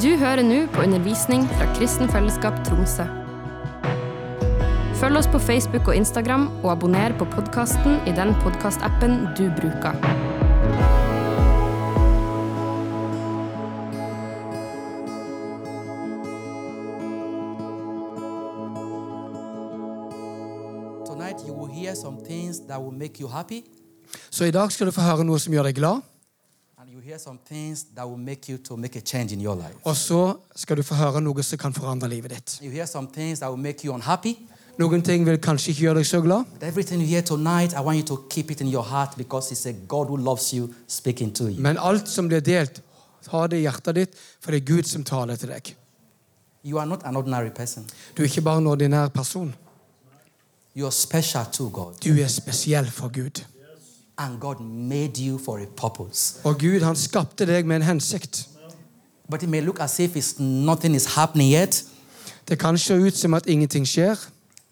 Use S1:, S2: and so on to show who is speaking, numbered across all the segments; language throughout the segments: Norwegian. S1: Du hører nå på undervisning fra Kristen Fellesskap Tromsø. Følg oss på Facebook og Instagram, og abonner på podkasten i den podkastappen du bruker.
S2: Tonight you will hear some things that will make you happy,
S3: Så i dag skal du få høre noe som gjør deg glad,
S2: and you hear some things that will make you to make a change in your life.
S3: og så skal du få høre noe som kan forandre livet ditt.
S2: You hear some things that will make you unhappy.
S3: Noen ting vil kanskje ikke gjøre deg så glad,
S2: But everything you hear tonight, I want you to keep it in your heart because it's a God who loves you speaking to you.
S3: men alt som blir delt, ta det i hjertet ditt, for det er Gud som taler til deg.
S2: You are not an ordinary person.
S3: Du er ikke bare en ordinær person.
S2: You are special to God.
S3: Du er spesiell for Gud.
S2: And God made you for a purpose.
S3: Og Gud, han skapte deg med en hensikt.
S2: But it may look as if it's nothing is happening yet,
S3: Det kan se ut som at ingenting skjer,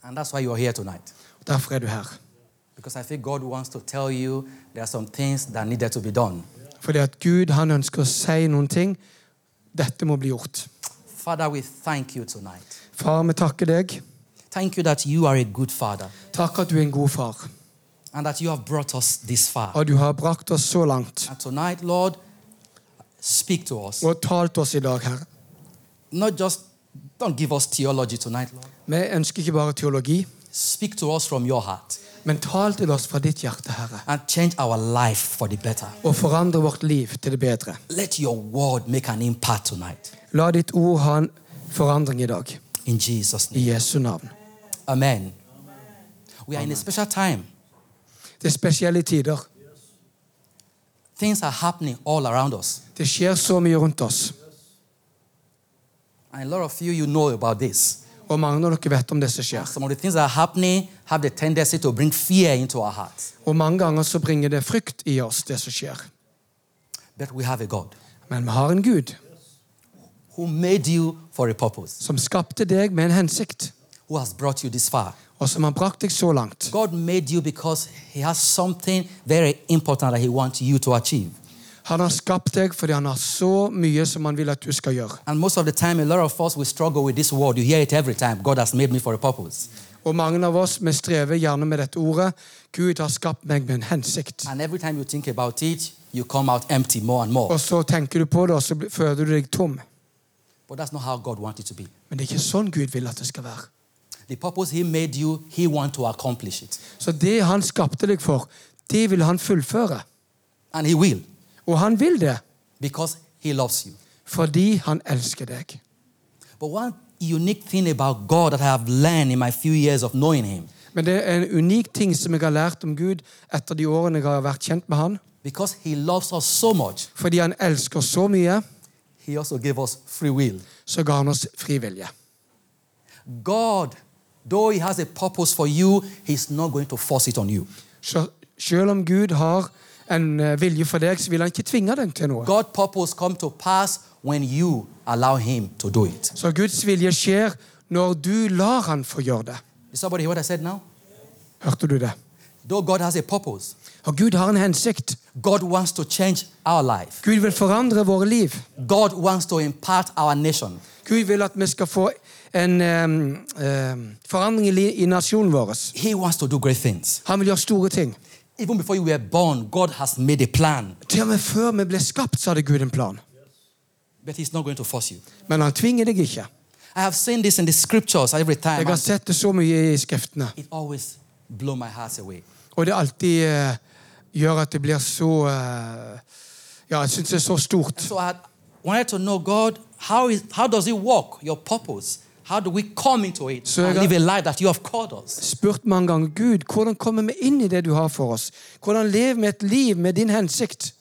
S2: and that's why you're here tonight.
S3: og derfor er du her.
S2: Because I feel God wants to tell you there are some things that needed to be done.
S3: Fordi at Gud, han ønsker å si noen ting. Dette må bli gjort.
S2: Father, we thank you tonight.
S3: Far, vi takker deg.
S2: Thank you that you are a good father
S3: Takk at du er en god far,
S2: and that you have brought us this far.
S3: og du har brakt oss så langt.
S2: And tonight, Lord, speak to us.
S3: og talt oss i dag, Herre.
S2: Not just, don't give us theology tonight, Lord.
S3: Vi ønsker ikke bare teologi,
S2: Speak to us from your heart
S3: men tal til oss fra ditt hjerte, Herre,
S2: and change our life for the better.
S3: og forandre vårt liv til det bedre.
S2: Let your word make an impact tonight.
S3: La ditt ord ha en forandring i dag,
S2: In Jesus'
S3: i
S2: name.
S3: Jesu navn.
S2: Amen. We are in a special time.
S3: Det er spesielle tider.
S2: Things are happening all around us.
S3: Det skjer så mye rundt oss,
S2: And a lot of you, you know about this.
S3: og mange av dere vet om det som
S2: And
S3: skjer.
S2: Some of the things that are happening have the tendency to bring fear into our hearts.
S3: Og mange ganger så bringer det frykt i oss, det som skjer.
S2: But we have a God
S3: Men vi har en Gud
S2: who made you for a purpose,
S3: som skapte deg med en hensikt,
S2: who has brought you this far.
S3: og som har brakt deg så langt.
S2: God made you because He has something very important that He wants you to achieve.
S3: Han har skapt deg fordi han har så mye som han vil at du skal gjøre.
S2: And most of the time, a lot of us, we struggle with this word. You hear it every time God has made me for a purpose.
S3: Og mange av oss vi strever gjerne med dette ordet. Gud har skapt meg med en hensikt.
S2: And every time you think about it, you come out empty more and more.
S3: Og så tenker du på det, og så blir- føler du deg tom.
S2: But that's not how God wants it to be.
S3: Men det er ikke sånn Gud vil at det skal være.
S2: The purpose He made you, He wants to accomplish it.
S3: Så det han skapte deg for, det vil han fullføre.
S2: And He will
S3: Og han vil det
S2: because He loves you.
S3: fordi han elsker deg.
S2: But one unique thing about God that I have learned in my few years of knowing Him
S3: Men det er en unik ting som jeg har lært om Gud etter de årene jeg har vært kjent med han.
S2: Because he loves us so much,
S3: Fordi han elsker så mye,
S2: he also gave us free will.
S3: så ga han oss fri vilje.
S2: God, though he has a purpose for you, he's not going to force it on you.
S3: Så selv om Gud har en eh, vilje for deg, så vil han ikke tvinge deg til noe.
S2: God's purpose come to pass when you allow him to do it.
S3: Så Guds vilje skjer når du lar han få gjøre det.
S2: Did somebody hear what I said now?
S3: Hørte du det?
S2: Though God has a purpose,
S3: Og Gud har en hensikt.
S2: God wants to change our life.
S3: Gud vil forandre våre liv.
S2: God wants to impart our nation.
S3: Gud vil at vi skal få en em, em, forandring i, li i nasjonen vår.
S2: He wants to do great things.
S3: Han vil gjøre store ting.
S2: Even before you were born, God has made a plan,
S3: Til og med før vi ble skapt, så hadde Gud en plan.
S2: but he's not going to force you.
S3: Men han tvinger deg ikke.
S2: I have seen this in the scriptures every time.
S3: Jeg har
S2: and
S3: sett det så mye i Skriftene,
S2: It always blow my heart away.
S3: og det alltid eh, gjør at det blir så eh, Ja, jeg syns det er så stort.
S2: So I wanted to know, God, how, is, how does it work, your purpose? How do we come into it
S3: So I
S2: and
S3: got-
S2: live a life that you have called us?
S3: spurt mange ganger Gud, hvordan kommer vi inn i det du har for oss? Hvordan lever vi et liv med din hensikt?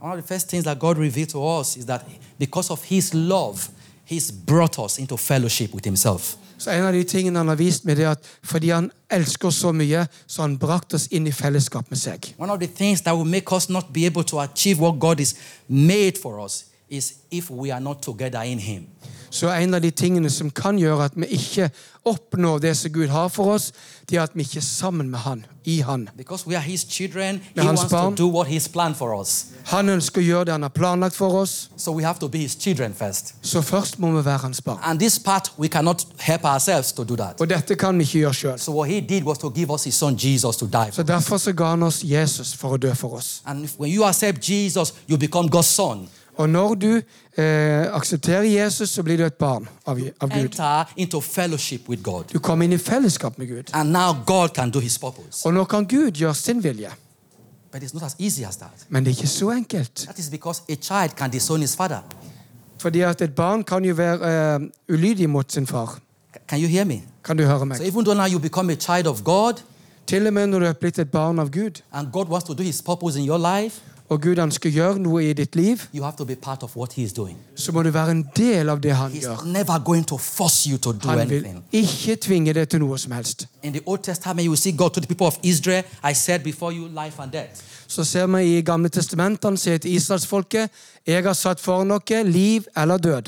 S2: One of the first things that God revealed to us is that because of His love, He's brought us into fellowship with Himself.
S3: Så En av de tingene han har vist meg, det er at fordi han elsker oss så mye, så har han brakt oss inn i fellesskap med seg.
S2: One of the things that will make us not be able to achieve what God is made for us is if we are not together in Him.
S3: så er en av de tingene som kan gjøre at vi ikke oppnår det som Gud har for oss, det er at vi ikke er sammen med Han, i Han.
S2: Because we are His children, He
S3: Hans
S2: wants
S3: barn.
S2: to do what He's planned for us.
S3: Han ønsker å gjøre det han har planlagt for oss,
S2: So we have to be His children first.
S3: så først må vi være hans barn.
S2: And this part, we cannot help ourselves to do that.
S3: Og dette kan vi ikke gjøre sjøl.
S2: So what He did was to give us His Son Jesus to die
S3: Så
S2: for.
S3: derfor så ga han oss Jesus for å dø for oss.
S2: And if, when you accept Jesus, you become God's Son.
S3: Og når du eh, aksepterer Jesus, så blir du et barn av, av Gud.
S2: Enter into fellowship with God.
S3: Du kommer inn i fellesskap med Gud.
S2: And now God can do His purpose.
S3: Og nå kan Gud gjøre sin vilje.
S2: But it's not as easy as that.
S3: Men det er ikke så enkelt.
S2: That is because a child can disown his father.
S3: Fordi at et barn kan jo være eh, ulydig mot sin far.
S2: C- Can you hear me?
S3: Kan du høre
S2: So
S3: meg?
S2: even though now you become a child of God
S3: Til og med når du er blitt et barn av Gud,
S2: and God wants to do His purpose in your life,
S3: og Gud ønsker å gjøre noe i ditt liv,
S2: you have to be part of what He is doing.
S3: så må du være en del av det han
S2: He's
S3: gjør.
S2: never going to force you to do
S3: Han vil
S2: anything.
S3: ikke tvinge deg til noe som helst.
S2: In the Old Testament, you will see God to the people of Israel, I said before you, life and death.
S3: Så ser vi i Gamle testamentet han sier til israelsfolket Jeg har satt foran dere liv eller død.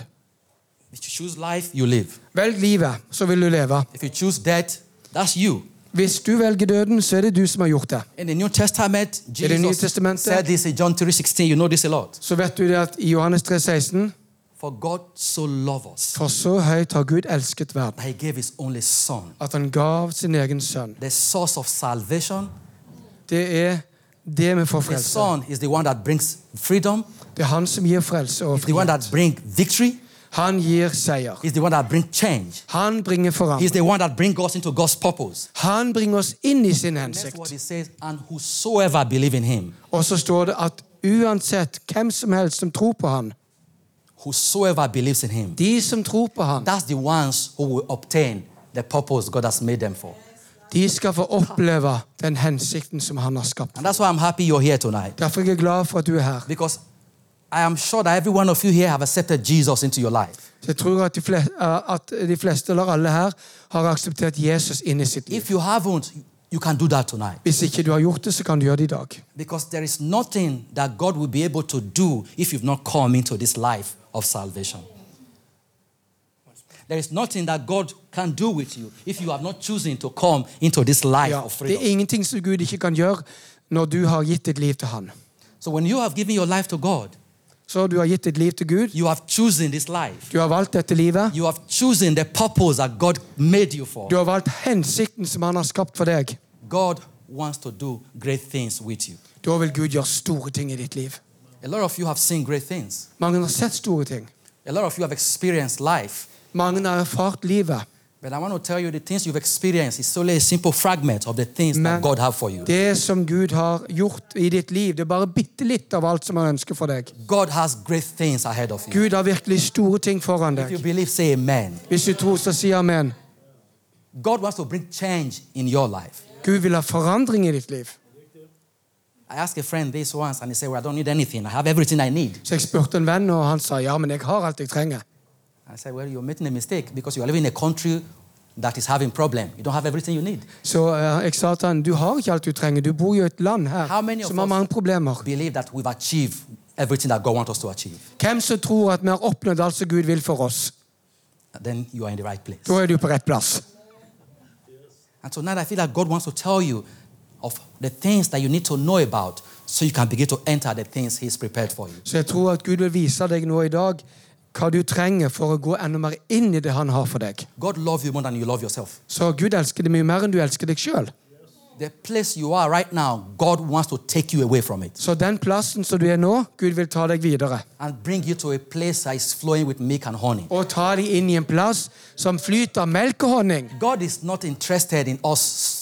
S2: If you choose life, you live.
S3: Velg livet, så vil du leve.
S2: If you choose death, that's you.
S3: Hvis du velger døden, så er det du som har gjort det.
S2: In the New Testament,
S3: the New
S2: Jesus
S3: Testament,
S2: said this in John 3:16. You know this a lot.
S3: Så vet du det at i Johannes 3, 16
S2: For God so loved us
S3: For så høyt har Gud elsket verden,
S2: that He gave His only Son,
S3: at han gav sin egen sønn.
S2: the source of salvation.
S3: Det er det vi får
S2: The
S3: frelse.
S2: Son is the one that brings freedom.
S3: Det er han som gir frelse og
S2: He's the one
S3: frihet.
S2: that brings victory.
S3: Han gir seier.
S2: He's the one that brings change.
S3: Han bringer
S2: He's
S3: forandring.
S2: the one that brings us into God's purpose.
S3: Han bringer oss inn i sin
S2: That's what
S3: hensikt.
S2: he says. And whosoever believe in him,
S3: Og så står det at uansett hvem som helst som tror på han,
S2: whosoever believes in him,
S3: de som tror på han,
S2: that's the ones who will obtain the purpose God has made them for.
S3: de skal få oppleve den hensikten som han har skapt.
S2: And that's why I'm happy you're here tonight.
S3: Derfor er jeg glad for at du er her.
S2: Because I am sure that every one of you here have accepted Jesus into your life.
S3: Så Jeg tror at de, fleste, at de fleste eller alle her har akseptert Jesus inn i sitt liv.
S2: If you haven't, you can do that tonight.
S3: Hvis ikke du har gjort det, så kan du gjøre det i dag.
S2: Because there is nothing that God will be able to do if you've not come into this life of salvation. There is nothing that God can do with you if you have not chosen to come into this life
S3: Ja,
S2: of
S3: det er
S2: freedom.
S3: ingenting som Gud ikke kan gjøre når du har gitt ditt liv til han.
S2: So when you have given your life to God,
S3: Så du har gitt ditt liv til Gud.
S2: you have chosen this life.
S3: Du har valgt dette livet.
S2: You have chosen the purpose that God made you for.
S3: Du har valgt hensikten som han har skapt for deg.
S2: God wants to do great things with you.
S3: Da vil Gud gjøre store ting i ditt liv.
S2: A lot of you have seen great things.
S3: Mange har sett store ting.
S2: A lot of you have experienced life.
S3: Mange har erfart livet.
S2: But I want to tell you the things you've experienced is solely a simple fragment of the things
S3: Men
S2: that God have for you.
S3: det som Gud har gjort i ditt liv, det er bare bitte litt av alt som han ønsker for deg.
S2: God has great things ahead of you.
S3: Gud har virkelig store ting foran
S2: If you
S3: deg.
S2: believe, say amen.
S3: Hvis du tror, så si amen.
S2: God wants to bring change in your life.
S3: Gud vil ha forandring i ditt liv.
S2: I asked a friend this once and he said, Well, I don't need anything. I have everything I need.
S3: Så jeg spurte en venn, og han sa ja, men jeg har alt jeg trenger.
S2: I said, Well, you're making a mistake because you're living in a country that is having problem. You don't have everything you need.
S3: Så eh, jeg sa til han, du har ikke alt du trenger. Du bor jo i et land her
S2: How many of
S3: som har
S2: us-
S3: mange problemer.
S2: Believe that we've achieved everything that God wants us to achieve.
S3: Hvem som tror at vi har oppnådd alt som Gud vil for oss?
S2: Then you are in the right place.
S3: Da er du på rett plass.
S2: And so now I feel that God wants to tell you of the things that you need to know about so you can begin to enter the things He's prepared for you.
S3: Så jeg tror at Gud vil vise deg nå i dag hva du trenger for å gå enda mer inn i det han har for deg.
S2: God loves you more than you love yourself.
S3: Så Gud elsker deg mye mer enn du elsker deg sjøl.
S2: The place you are right now, God wants to take you away from it
S3: Så den plassen som du er nå, Gud vil ta deg videre.
S2: and bring you to a place that is flowing with milk and honey.
S3: Og ta deg inn i en plass som flyter av melk og honning.
S2: God is not interested in us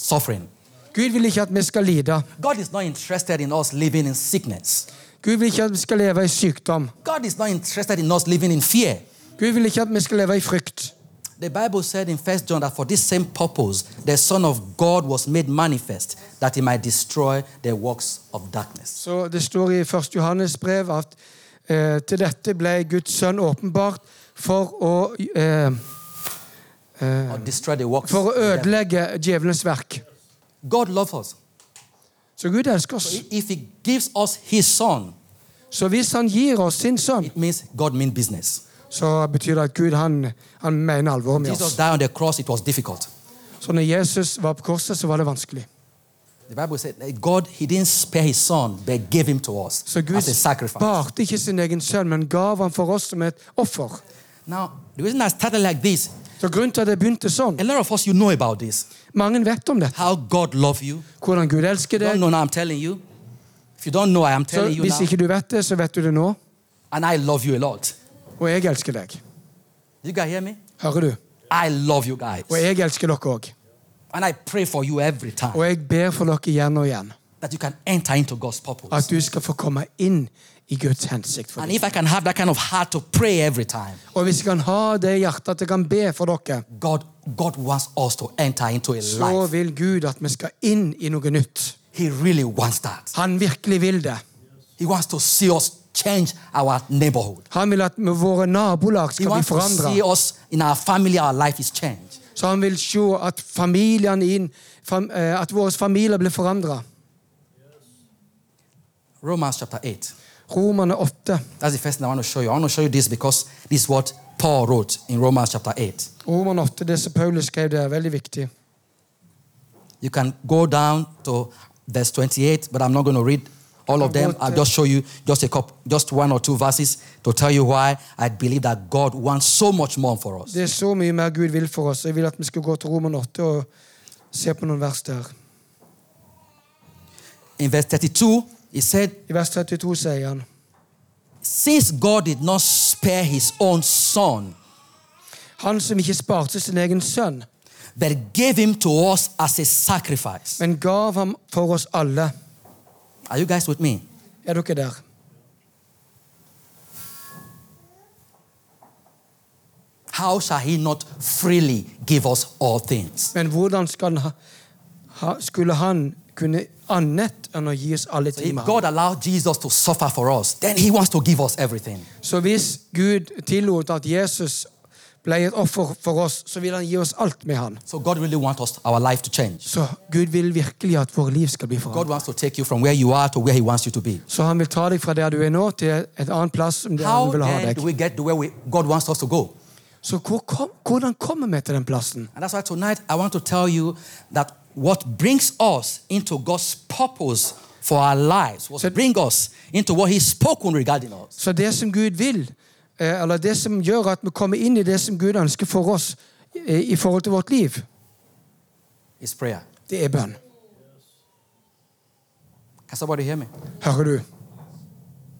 S2: suffering.
S3: Gud vil ikke at vi skal lide.
S2: God is not interested in us living in sickness.
S3: Gud vil ikke at vi skal leve i sykdom.
S2: God is not interested in us living in fear.
S3: Gud vil ikke at vi skal leve i frykt.
S2: The Bible said in 1 John that for this same purpose, the Son of God was made manifest that he might destroy the works of darkness.
S3: Så det står i 1. Johannes brev at eh, til dette ble Guds sønn åpenbart for å eh,
S2: or destroy the works.
S3: For
S2: of
S3: å
S2: the devil.
S3: ødelegge djevelens verk.
S2: God loves us.
S3: Så Gud elsker oss.
S2: If He gives us His Son,
S3: Så hvis Han gir oss sin sønn,
S2: it means God means business.
S3: så betyr det at Gud han, han mener alvor med
S2: Jesus
S3: oss.
S2: died on the cross, it was difficult.
S3: Så når Jesus var på korset, så var det vanskelig.
S2: The Bible said that God, He didn't spare His Son, but gave Him to us
S3: Så Gud
S2: as a sacrifice.
S3: sparte ikke sin egen sønn, men gav han for oss som et offer.
S2: Now, the reason I started like this,
S3: Så grunnen til at det begynte sånn,
S2: a lot of us, you know about this.
S3: mange vet om dette.
S2: How God loved you.
S3: Hvordan Gud elsker
S2: You don't
S3: deg.
S2: know now, I'm telling you. If you don't know, I am
S3: Så
S2: telling you
S3: hvis
S2: now.
S3: ikke du vet det, så vet du det nå.
S2: And I love you a lot.
S3: Og jeg elsker deg.
S2: You guys hear me?
S3: Hører du?
S2: I love you guys.
S3: Og jeg elsker dere òg.
S2: And I pray for you every time
S3: Og jeg ber for dere igjen og igjen.
S2: that you can enter into God's
S3: At
S2: purpose.
S3: du skal få komme inn i Guds hensikt for
S2: And
S3: deg.
S2: if I can have that kind of heart to pray every time,
S3: Og hvis jeg kan ha det i hjertet at jeg kan be for dere,
S2: God, God wants us to enter into a
S3: så
S2: life.
S3: vil Gud at vi skal inn i noe nytt.
S2: He really wants that.
S3: Han virkelig vil det.
S2: He wants to see us change our neighborhood.
S3: Han vil at med våre nabolag
S2: He
S3: skal bli
S2: wants to
S3: forandra.
S2: see us in our family, our life is changed.
S3: Så han vil se at familien inn, fam, eh, at våre familier blir forandra.
S2: Romans chapter 8.
S3: Romerne 8.
S2: That's the first thing I want to show you. I want to show you this because this is what Paul wrote in Romans chapter 8.
S3: Romerne 8, Det som Paulus skrev, det er veldig viktig.
S2: You can go down to verse 28, but I'm not going to read all of them.
S3: About, uh,
S2: I'll just show you just a couple, just one or two verses to tell you why I believe that God wants so much more for us.
S3: Det er så mye mer Gud vil for oss. Jeg vil at vi skal gå til Roman 8 og se på noen vers der.
S2: In verse 32, he said,
S3: I vers 32 sier han
S2: Since God did not spare his own son,
S3: Han som ikke sparte sin egen sønn,
S2: but gave him to us as a sacrifice.
S3: men gav ham for oss alle.
S2: Are you guys with me?
S3: Er dere der?
S2: How shall he not freely give us all things?
S3: Men hvordan skal han ha, ha, skulle han kunne annet enn å gi oss alle
S2: If
S3: timer?
S2: God allowed Jesus to suffer for us, then he wants to give us everything.
S3: Så hvis Gud tillot at Jesus ble et offer for oss, så vil han gi oss alt med han.
S2: So God really wants us, our life to change.
S3: Så Gud vil virkelig at våre liv skal bli
S2: God
S3: forandret.
S2: wants to take you from where you are to where He wants you to be.
S3: Så han vil ta deg fra der du er nå, til et annet plass som der
S2: How
S3: han vil ha
S2: then do
S3: deg.
S2: we get to where we, God wants us to go?
S3: Så hvor kom, hvordan kommer vi til den plassen?
S2: And that's why tonight I want to tell you that what brings us into God's purpose for our lives, what
S3: So-
S2: brings us into what He's spoken regarding us,
S3: Så det som Gud vil, eh, eller det som gjør at vi kommer inn i det som Gud ønsker for oss eh, i forhold til vårt liv,
S2: is prayer.
S3: det er bønn.
S2: Can somebody hear me?
S3: Hører du?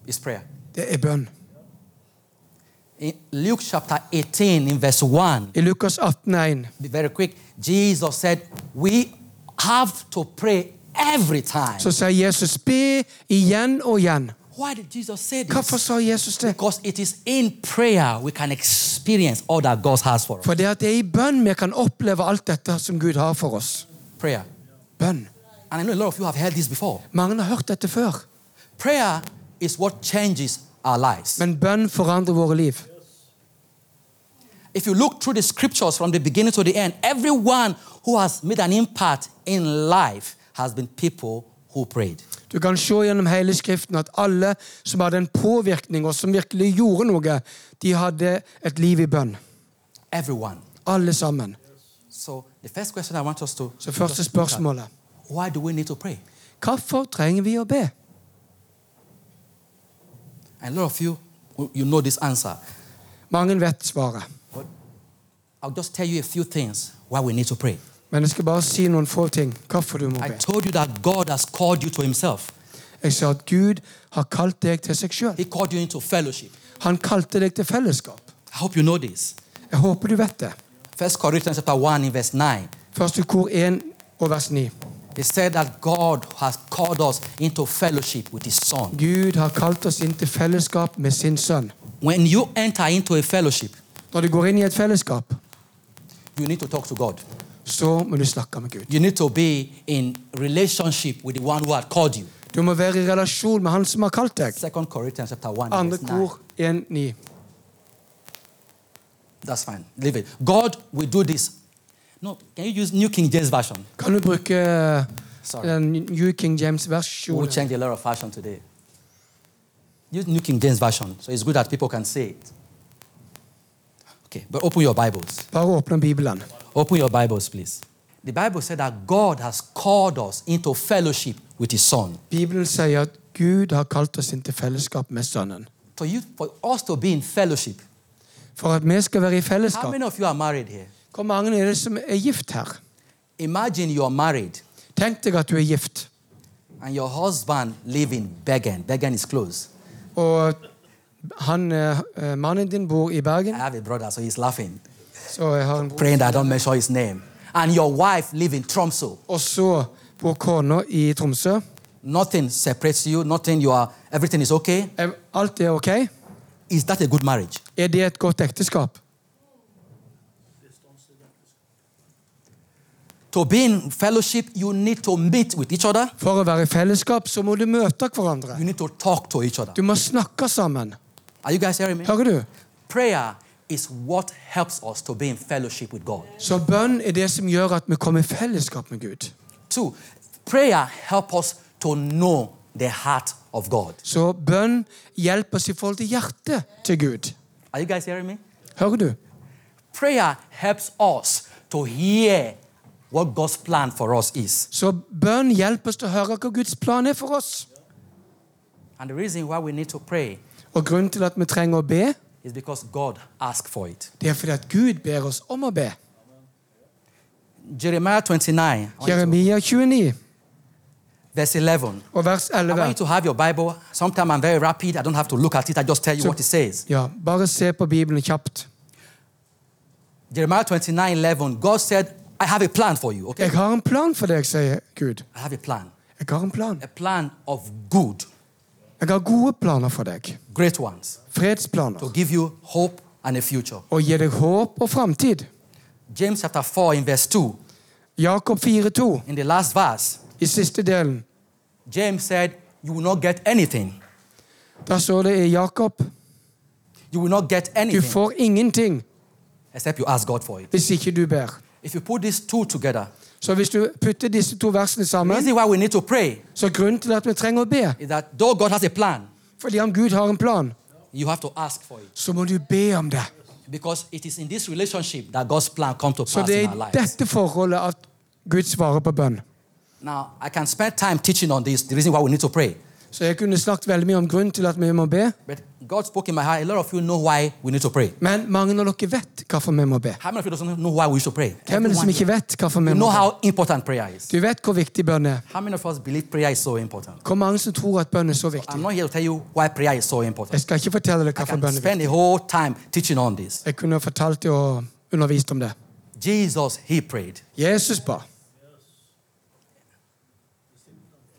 S2: It's prayer.
S3: Det er bønn.
S2: In Luke chapter 18, in verse 1,
S3: I Lukas 18,1
S2: be very quick, Jesus said, We have to pray every time.
S3: så sier Jesus, be igjen og igjen.
S2: Why did Jesus say this?
S3: Hvorfor sa Jesus det?
S2: Because it is in prayer we can experience all that God has for us.
S3: For det at det er i bønn vi kan oppleve alt dette som Gud har for oss.
S2: Prayer.
S3: Bønn.
S2: And I know a lot of you have heard this before.
S3: Mange har hørt dette før,
S2: Prayer is what changes our lives.
S3: men bønn forandrer våre liv.
S2: If you look through the scriptures from the beginning to the end, everyone who has made an impact in life has been people who prayed.
S3: Du kan se gjennom hele Skriften at alle som hadde en påvirkning, og som virkelig gjorde noe, de hadde et liv i bønn.
S2: Everyone.
S3: Alle sammen.
S2: So the first question I want us to
S3: Så første spørsmålet
S2: why do we need to pray?
S3: Hvorfor trenger vi å be?
S2: And a lot of you you know this answer.
S3: Mange vet svaret,
S2: But I'll just tell you a few things why we need to pray.
S3: men jeg skal bare si noen få ting. Hvorfor du må
S2: I
S3: be.
S2: told you that God has called you to Himself.
S3: Jeg sa at Gud har kalt deg til seg sjøl.
S2: He called you into fellowship.
S3: Han kalte deg til fellesskap.
S2: I hope you know this.
S3: Jeg håper du vet det.
S2: First Corinthians chapter 1 in verse 9.
S3: Første kor 1 og vers 9.
S2: It said that God has called us into fellowship with His Son.
S3: Gud har kalt oss inn til fellesskap med sin sønn.
S2: When you enter into a fellowship,
S3: Når du går inn i et fellesskap,
S2: you need to talk to God.
S3: så må du snakke med Gud.
S2: You need to be in relationship with the one who had called you.
S3: Du må være i relasjon med Han som har kalt deg.
S2: Second Corinthians chapter 1 in
S3: Andre
S2: verse 9.
S3: kor 1-9.
S2: That's fine. Leave it. God will do this. No, can you use New King James Version?
S3: Kan du bruke eh,
S2: Sorry.
S3: den New King
S2: We'll
S3: James-versjonen?
S2: change a lot of fashion today. Use New King James Version, so it's good that people can see it. Okay, but open your Bibles.
S3: Bare åpne Bibelen.
S2: Open your Bibles, please. The Bible said that God has called us into fellowship with His Son.
S3: Bibelen sier at Gud har kalt oss inn til fellesskap med Sønnen.
S2: For, you, for us to be in fellowship,
S3: For at vi skal være i
S2: how
S3: fellesskap.
S2: many of you are married here?
S3: Hvor mange er det som er gift her?
S2: Imagine you are married
S3: Tenk deg at du er gift,
S2: and your husband live in Bergen. Bergen is close.
S3: og han, eh, eh, mannen din bor i
S2: I
S3: Bergen,
S2: have a brother, so he's laughing,
S3: så jeg har en bror.
S2: praying that I don't mention his name. And your wife live in Tromso.
S3: Og så bor kona i Tromsø.
S2: Nothing separates you. Nothing. You are. Everything is okay.
S3: Er- Alt er ok.
S2: Is that a good marriage?
S3: Er det et godt ekteskap?
S2: To be in fellowship, you need to meet with each other.
S3: For å være i fellesskap så må du møte hverandre.
S2: You need to talk to each other.
S3: Du må snakke sammen.
S2: Are you guys hearing me?
S3: Hører du?
S2: Prayer is what helps us to be in fellowship with God.
S3: Så bønn er det som gjør at vi kommer i fellesskap med Gud.
S2: Two, prayer helps us to know the heart of God.
S3: Så bønn hjelper oss i forhold til hjertet til Gud.
S2: Are you guys hearing me?
S3: Hører du?
S2: Prayer helps us to hear what God's plan for us is.
S3: Så bønn hjelper oss til å høre hva Guds plan er for oss.
S2: And the reason why we need to pray
S3: Og grunnen til at vi trenger å be,
S2: is because God asked for it.
S3: det er fordi at Gud ber oss om å be.
S2: Jeremiah 29, I want you to-
S3: Jeremia 29
S2: verse 11.
S3: og vers
S2: I want
S3: 11.
S2: you to have your Bible. Sometimes I'm very rapid. I don't have to look at it. I just tell you what it says.
S3: Ja, bare se på Bibelen kjapt.
S2: Jeremiah 29, 11. God said, I have a plan for you. Okay?
S3: Jeg har en plan for deg, sier Gud.
S2: I have a plan.
S3: Jeg har en plan.
S2: A plan of good,
S3: Jeg har gode planer for deg.
S2: great ones,
S3: Fredsplaner.
S2: to give you hope and a future.
S3: Og gir deg håp og framtid.
S2: James chapter 4, in verse 2,
S3: Jakob 4,2
S2: in the last verse,
S3: i siste delen.
S2: James said, You will not get anything.
S3: Da står det i Jakob
S2: You will not get
S3: Du
S2: anything
S3: får ingenting
S2: except you ask God for it.
S3: hvis ikke du ber.
S2: If you put these two together,
S3: Så hvis du putter disse to versene
S2: the
S3: sammen,
S2: reason why we need to pray
S3: så grunnen til at vi trenger å be
S2: is that though God has a plan,
S3: Fordi om Gud har en plan,
S2: you have to ask for it.
S3: så må du be om det.
S2: Because it is in this relationship that God's plan comes to
S3: Så
S2: pass
S3: det
S2: in
S3: er
S2: our
S3: i
S2: lives.
S3: dette forholdet at Gud svarer på bønn.
S2: Now, I can spend time teaching on this, the reason why we need to pray.
S3: Så jeg kunne snakket veldig mye om grunnen til at vi må be,
S2: But God spoke in my heart. A lot of you know why we need to pray.
S3: men mange av dere vet hvorfor vi må be.
S2: How many of you doesn't know why we should pray?
S3: Hvem er det som
S2: Everyone
S3: ikke vet hvorfor vi
S2: You
S3: må
S2: know
S3: be?
S2: how important prayer is.
S3: Du vet hvor viktig bønn er.
S2: How many of us believe prayer is so important?
S3: Hvor mange som tror at bønn er så
S2: I'm
S3: viktig?
S2: not here to tell you why prayer is so
S3: Jeg
S2: important.
S3: skal ikke fortelle deg
S2: I
S3: hvorfor
S2: can
S3: bønn er viktig.
S2: spend the whole time teaching on this.
S3: Jeg kunne fortalt deg og undervist om det.
S2: Jesus, he prayed.
S3: Jesus ba.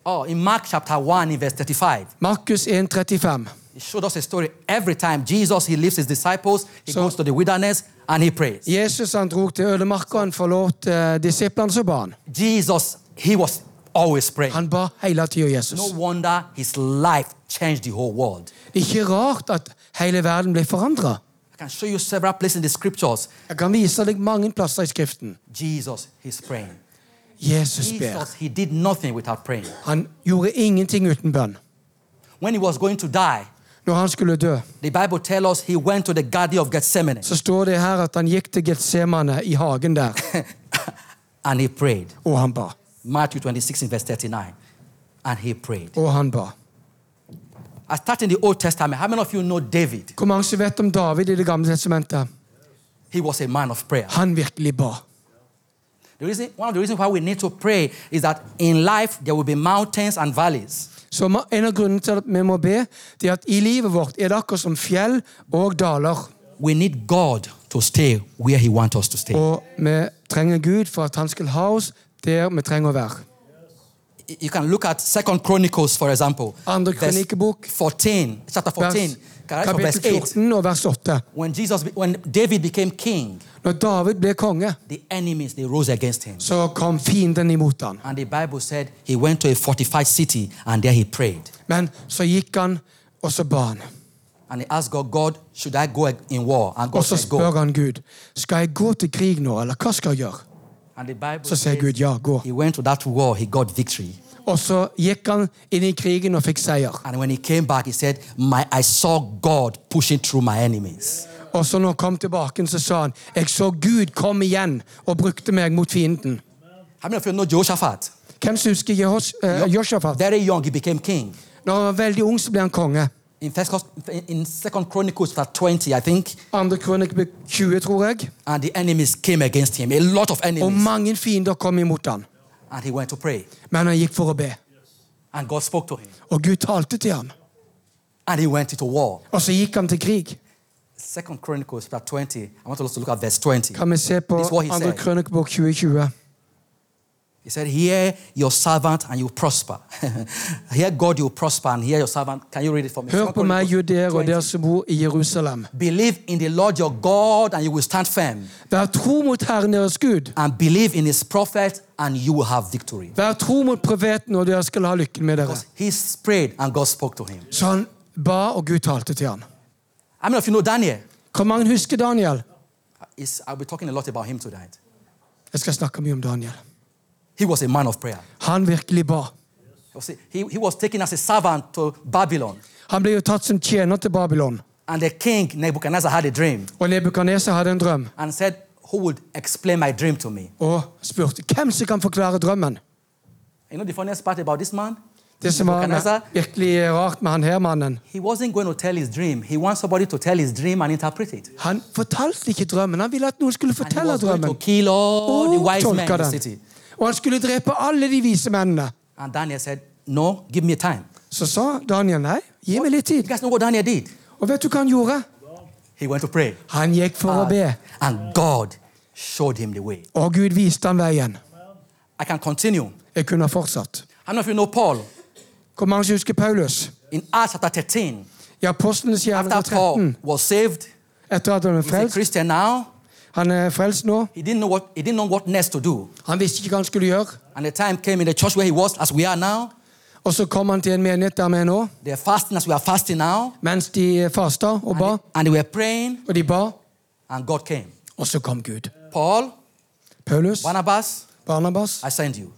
S2: Oh, in Mark chapter 1, in verse 35,
S3: Markus 1,35.
S2: he showed us a story. Every time Jesus, he leaves his disciples, he
S3: So-
S2: goes to the wilderness and he prays.
S3: Jesus han dro til ødemarka, han forlot eh, disiplene, så ba han.
S2: Jesus, he was always praying.
S3: Han ba hele tida
S2: No
S3: Jesus.
S2: wonder his life changed the whole world.
S3: Det er ikke rart at hele verden ble forandra.
S2: I can show you several places in the scriptures.
S3: Jeg kan vise deg mange plasser i Skriften.
S2: Jesus, he's praying.
S3: Jesus ber.
S2: Jesus, he did nothing without praying.
S3: Han gjorde ingenting uten bønn.
S2: When he was going to die,
S3: Når han skulle dø,
S2: the Bible tells us he went to the Garden of Gethsemane
S3: så står det her at han gikk til Getsemane i hagen der,
S2: and he prayed.
S3: og han ba.
S2: Matthew 26, in verse 39. And he prayed.
S3: Og han ba.
S2: I start in the Old Testament. How many of you know David?
S3: Hvor mange som vet om David i Det gamle testamentet?
S2: He was a man of prayer.
S3: Han virkelig ba.
S2: The reason, one of the reasons why we need to pray is that in life there will be mountains and valleys.
S3: Så ma- en av grunnene til at vi må be, det er at i livet vårt er det akkurat som fjell og daler.
S2: We need God to stay where he wants us to stay.
S3: Og vi trenger Gud for at han skal ha oss der vi trenger å være.
S2: you can look at second chronicles for example
S3: Andre
S2: verse
S3: kronikkebok.
S2: 14 chapter 14
S3: Vers,
S2: can I read from
S3: kapittel
S2: verse 8
S3: 14 og vers 8.
S2: when jesus be- when david became king
S3: Når David ble konge,
S2: the enemies they rose against him
S3: så kom fienden imot han.
S2: and the bible said he went to a fortified city and there he prayed
S3: Men så gikk han, og så ba han.
S2: and he asked god god should i go in war and god
S3: Og så
S2: said go
S3: spør han Gud, skal jeg gå til krig nå, eller hva skal jeg gjøre?
S2: and the bible
S3: Så sier Gud, ja, gå.
S2: he went to that war he got victory
S3: Og så gikk han inn i krigen og fikk seier.
S2: And when he came back, he said, my, I saw God pushing through my enemies.
S3: Og så når han kom tilbake, så sa han, jeg så Gud kom igjen og brukte meg mot fienden.
S2: How many of you know Jehoshaphat?
S3: Hvem som husker Jehos, eh, Joshafat?
S2: Very young, he became king.
S3: Når han var veldig ung, så ble han konge.
S2: In, first, in- in Second Chronicles, chapter 20, I think,
S3: Andre kronikk ble 20, tror jeg.
S2: and the enemies came against him, a lot of
S3: Og
S2: enemies.
S3: mange fiender kom imot han.
S2: And he went to pray.
S3: Men han gikk for å be.
S2: And God spoke to him.
S3: Og Gud talte til ham.
S2: And he went into war.
S3: Og så gikk han til krig.
S2: Second Chronicles, chapter 20. I want us to look at verse 20.
S3: Kan vi se på
S2: This is what he
S3: andre
S2: said.
S3: krønikebok 2020?
S2: He said, Hear your servant and you prosper. Hear God, you prosper, and hear your servant. Can you read it for me?
S3: Hør
S2: Second
S3: på meg,
S2: Chronicles
S3: jøder og
S2: 20.
S3: dere som bor i Jerusalem.
S2: Believe in the Lord your God, and you will stand firm.
S3: Vær tro mot Herren deres Gud.
S2: And believe in his prophet, and you will have victory.
S3: Vær tro mot profeten, og dere skal ha lykken med dere.
S2: Because he prayed, and God spoke to him.
S3: Så han ba, og Gud talte til ham.
S2: I mean, if you know Daniel,
S3: Hvor mange husker Daniel?
S2: is I'll be talking a lot about him tonight.
S3: Jeg skal snakke mye om Daniel.
S2: He was a man of prayer.
S3: Han virkelig ba.
S2: You see, He, he was taken as a servant to Babylon.
S3: Han ble jo tatt som tjener til Babylon.
S2: And the king, Nebuchadnezzar, had a dream
S3: Og Nebukadneser hadde en drøm
S2: and said, Who would explain my dream to me?
S3: og spurte hvem som kan forklare drømmen.
S2: You know the funniest part about this man?
S3: Det som var med,
S2: Nebuchadnezzar,
S3: virkelig rart med han her mannen,
S2: he wasn't going to tell his dream. He wants somebody to tell his dream and interpret it.
S3: han fortalte ikke drømmen. Han ville at noen skulle
S2: And he
S3: fortelle
S2: was going to
S3: drømmen.
S2: kill all the
S3: Og
S2: wise men
S3: tolka
S2: in the
S3: den.
S2: city.
S3: Og han skulle drepe alle de vise mennene.
S2: And Daniel said, No, give me time.
S3: Så sa Daniel nei, gi meg litt
S2: You
S3: tid.
S2: guys know what Daniel did?
S3: Og vet du hva han gjorde?
S2: He went to pray.
S3: Han gikk for å be,
S2: And God showed him the way.
S3: og Gud viste han veien.
S2: I can continue.
S3: Jeg kunne ha fortsatt.
S2: I don't know if you know Paul
S3: Hvor mange som husker Paulus?
S2: in Acts chapter 13.
S3: I Apostlenes gjerning
S2: After Paul
S3: 13,
S2: was saved,
S3: etter at han er
S2: he's a
S3: frelst
S2: Christian now.
S3: Han er frelst nå.
S2: He didn't know what he didn't know what next to do.
S3: Han visste ikke hva han skulle gjøre.
S2: And the time came in the church where he was, as we are now.
S3: Og så kom han til en menighet der vi er nå,
S2: They're fasting as we are fasting now.
S3: mens de fasta og
S2: And
S3: ba.
S2: they, and they were praying,
S3: Og de ba,
S2: and God came.
S3: og så kom Gud.
S2: Paul,
S3: Paulus,
S2: Barnabas,
S3: Barnabas,
S2: I send you.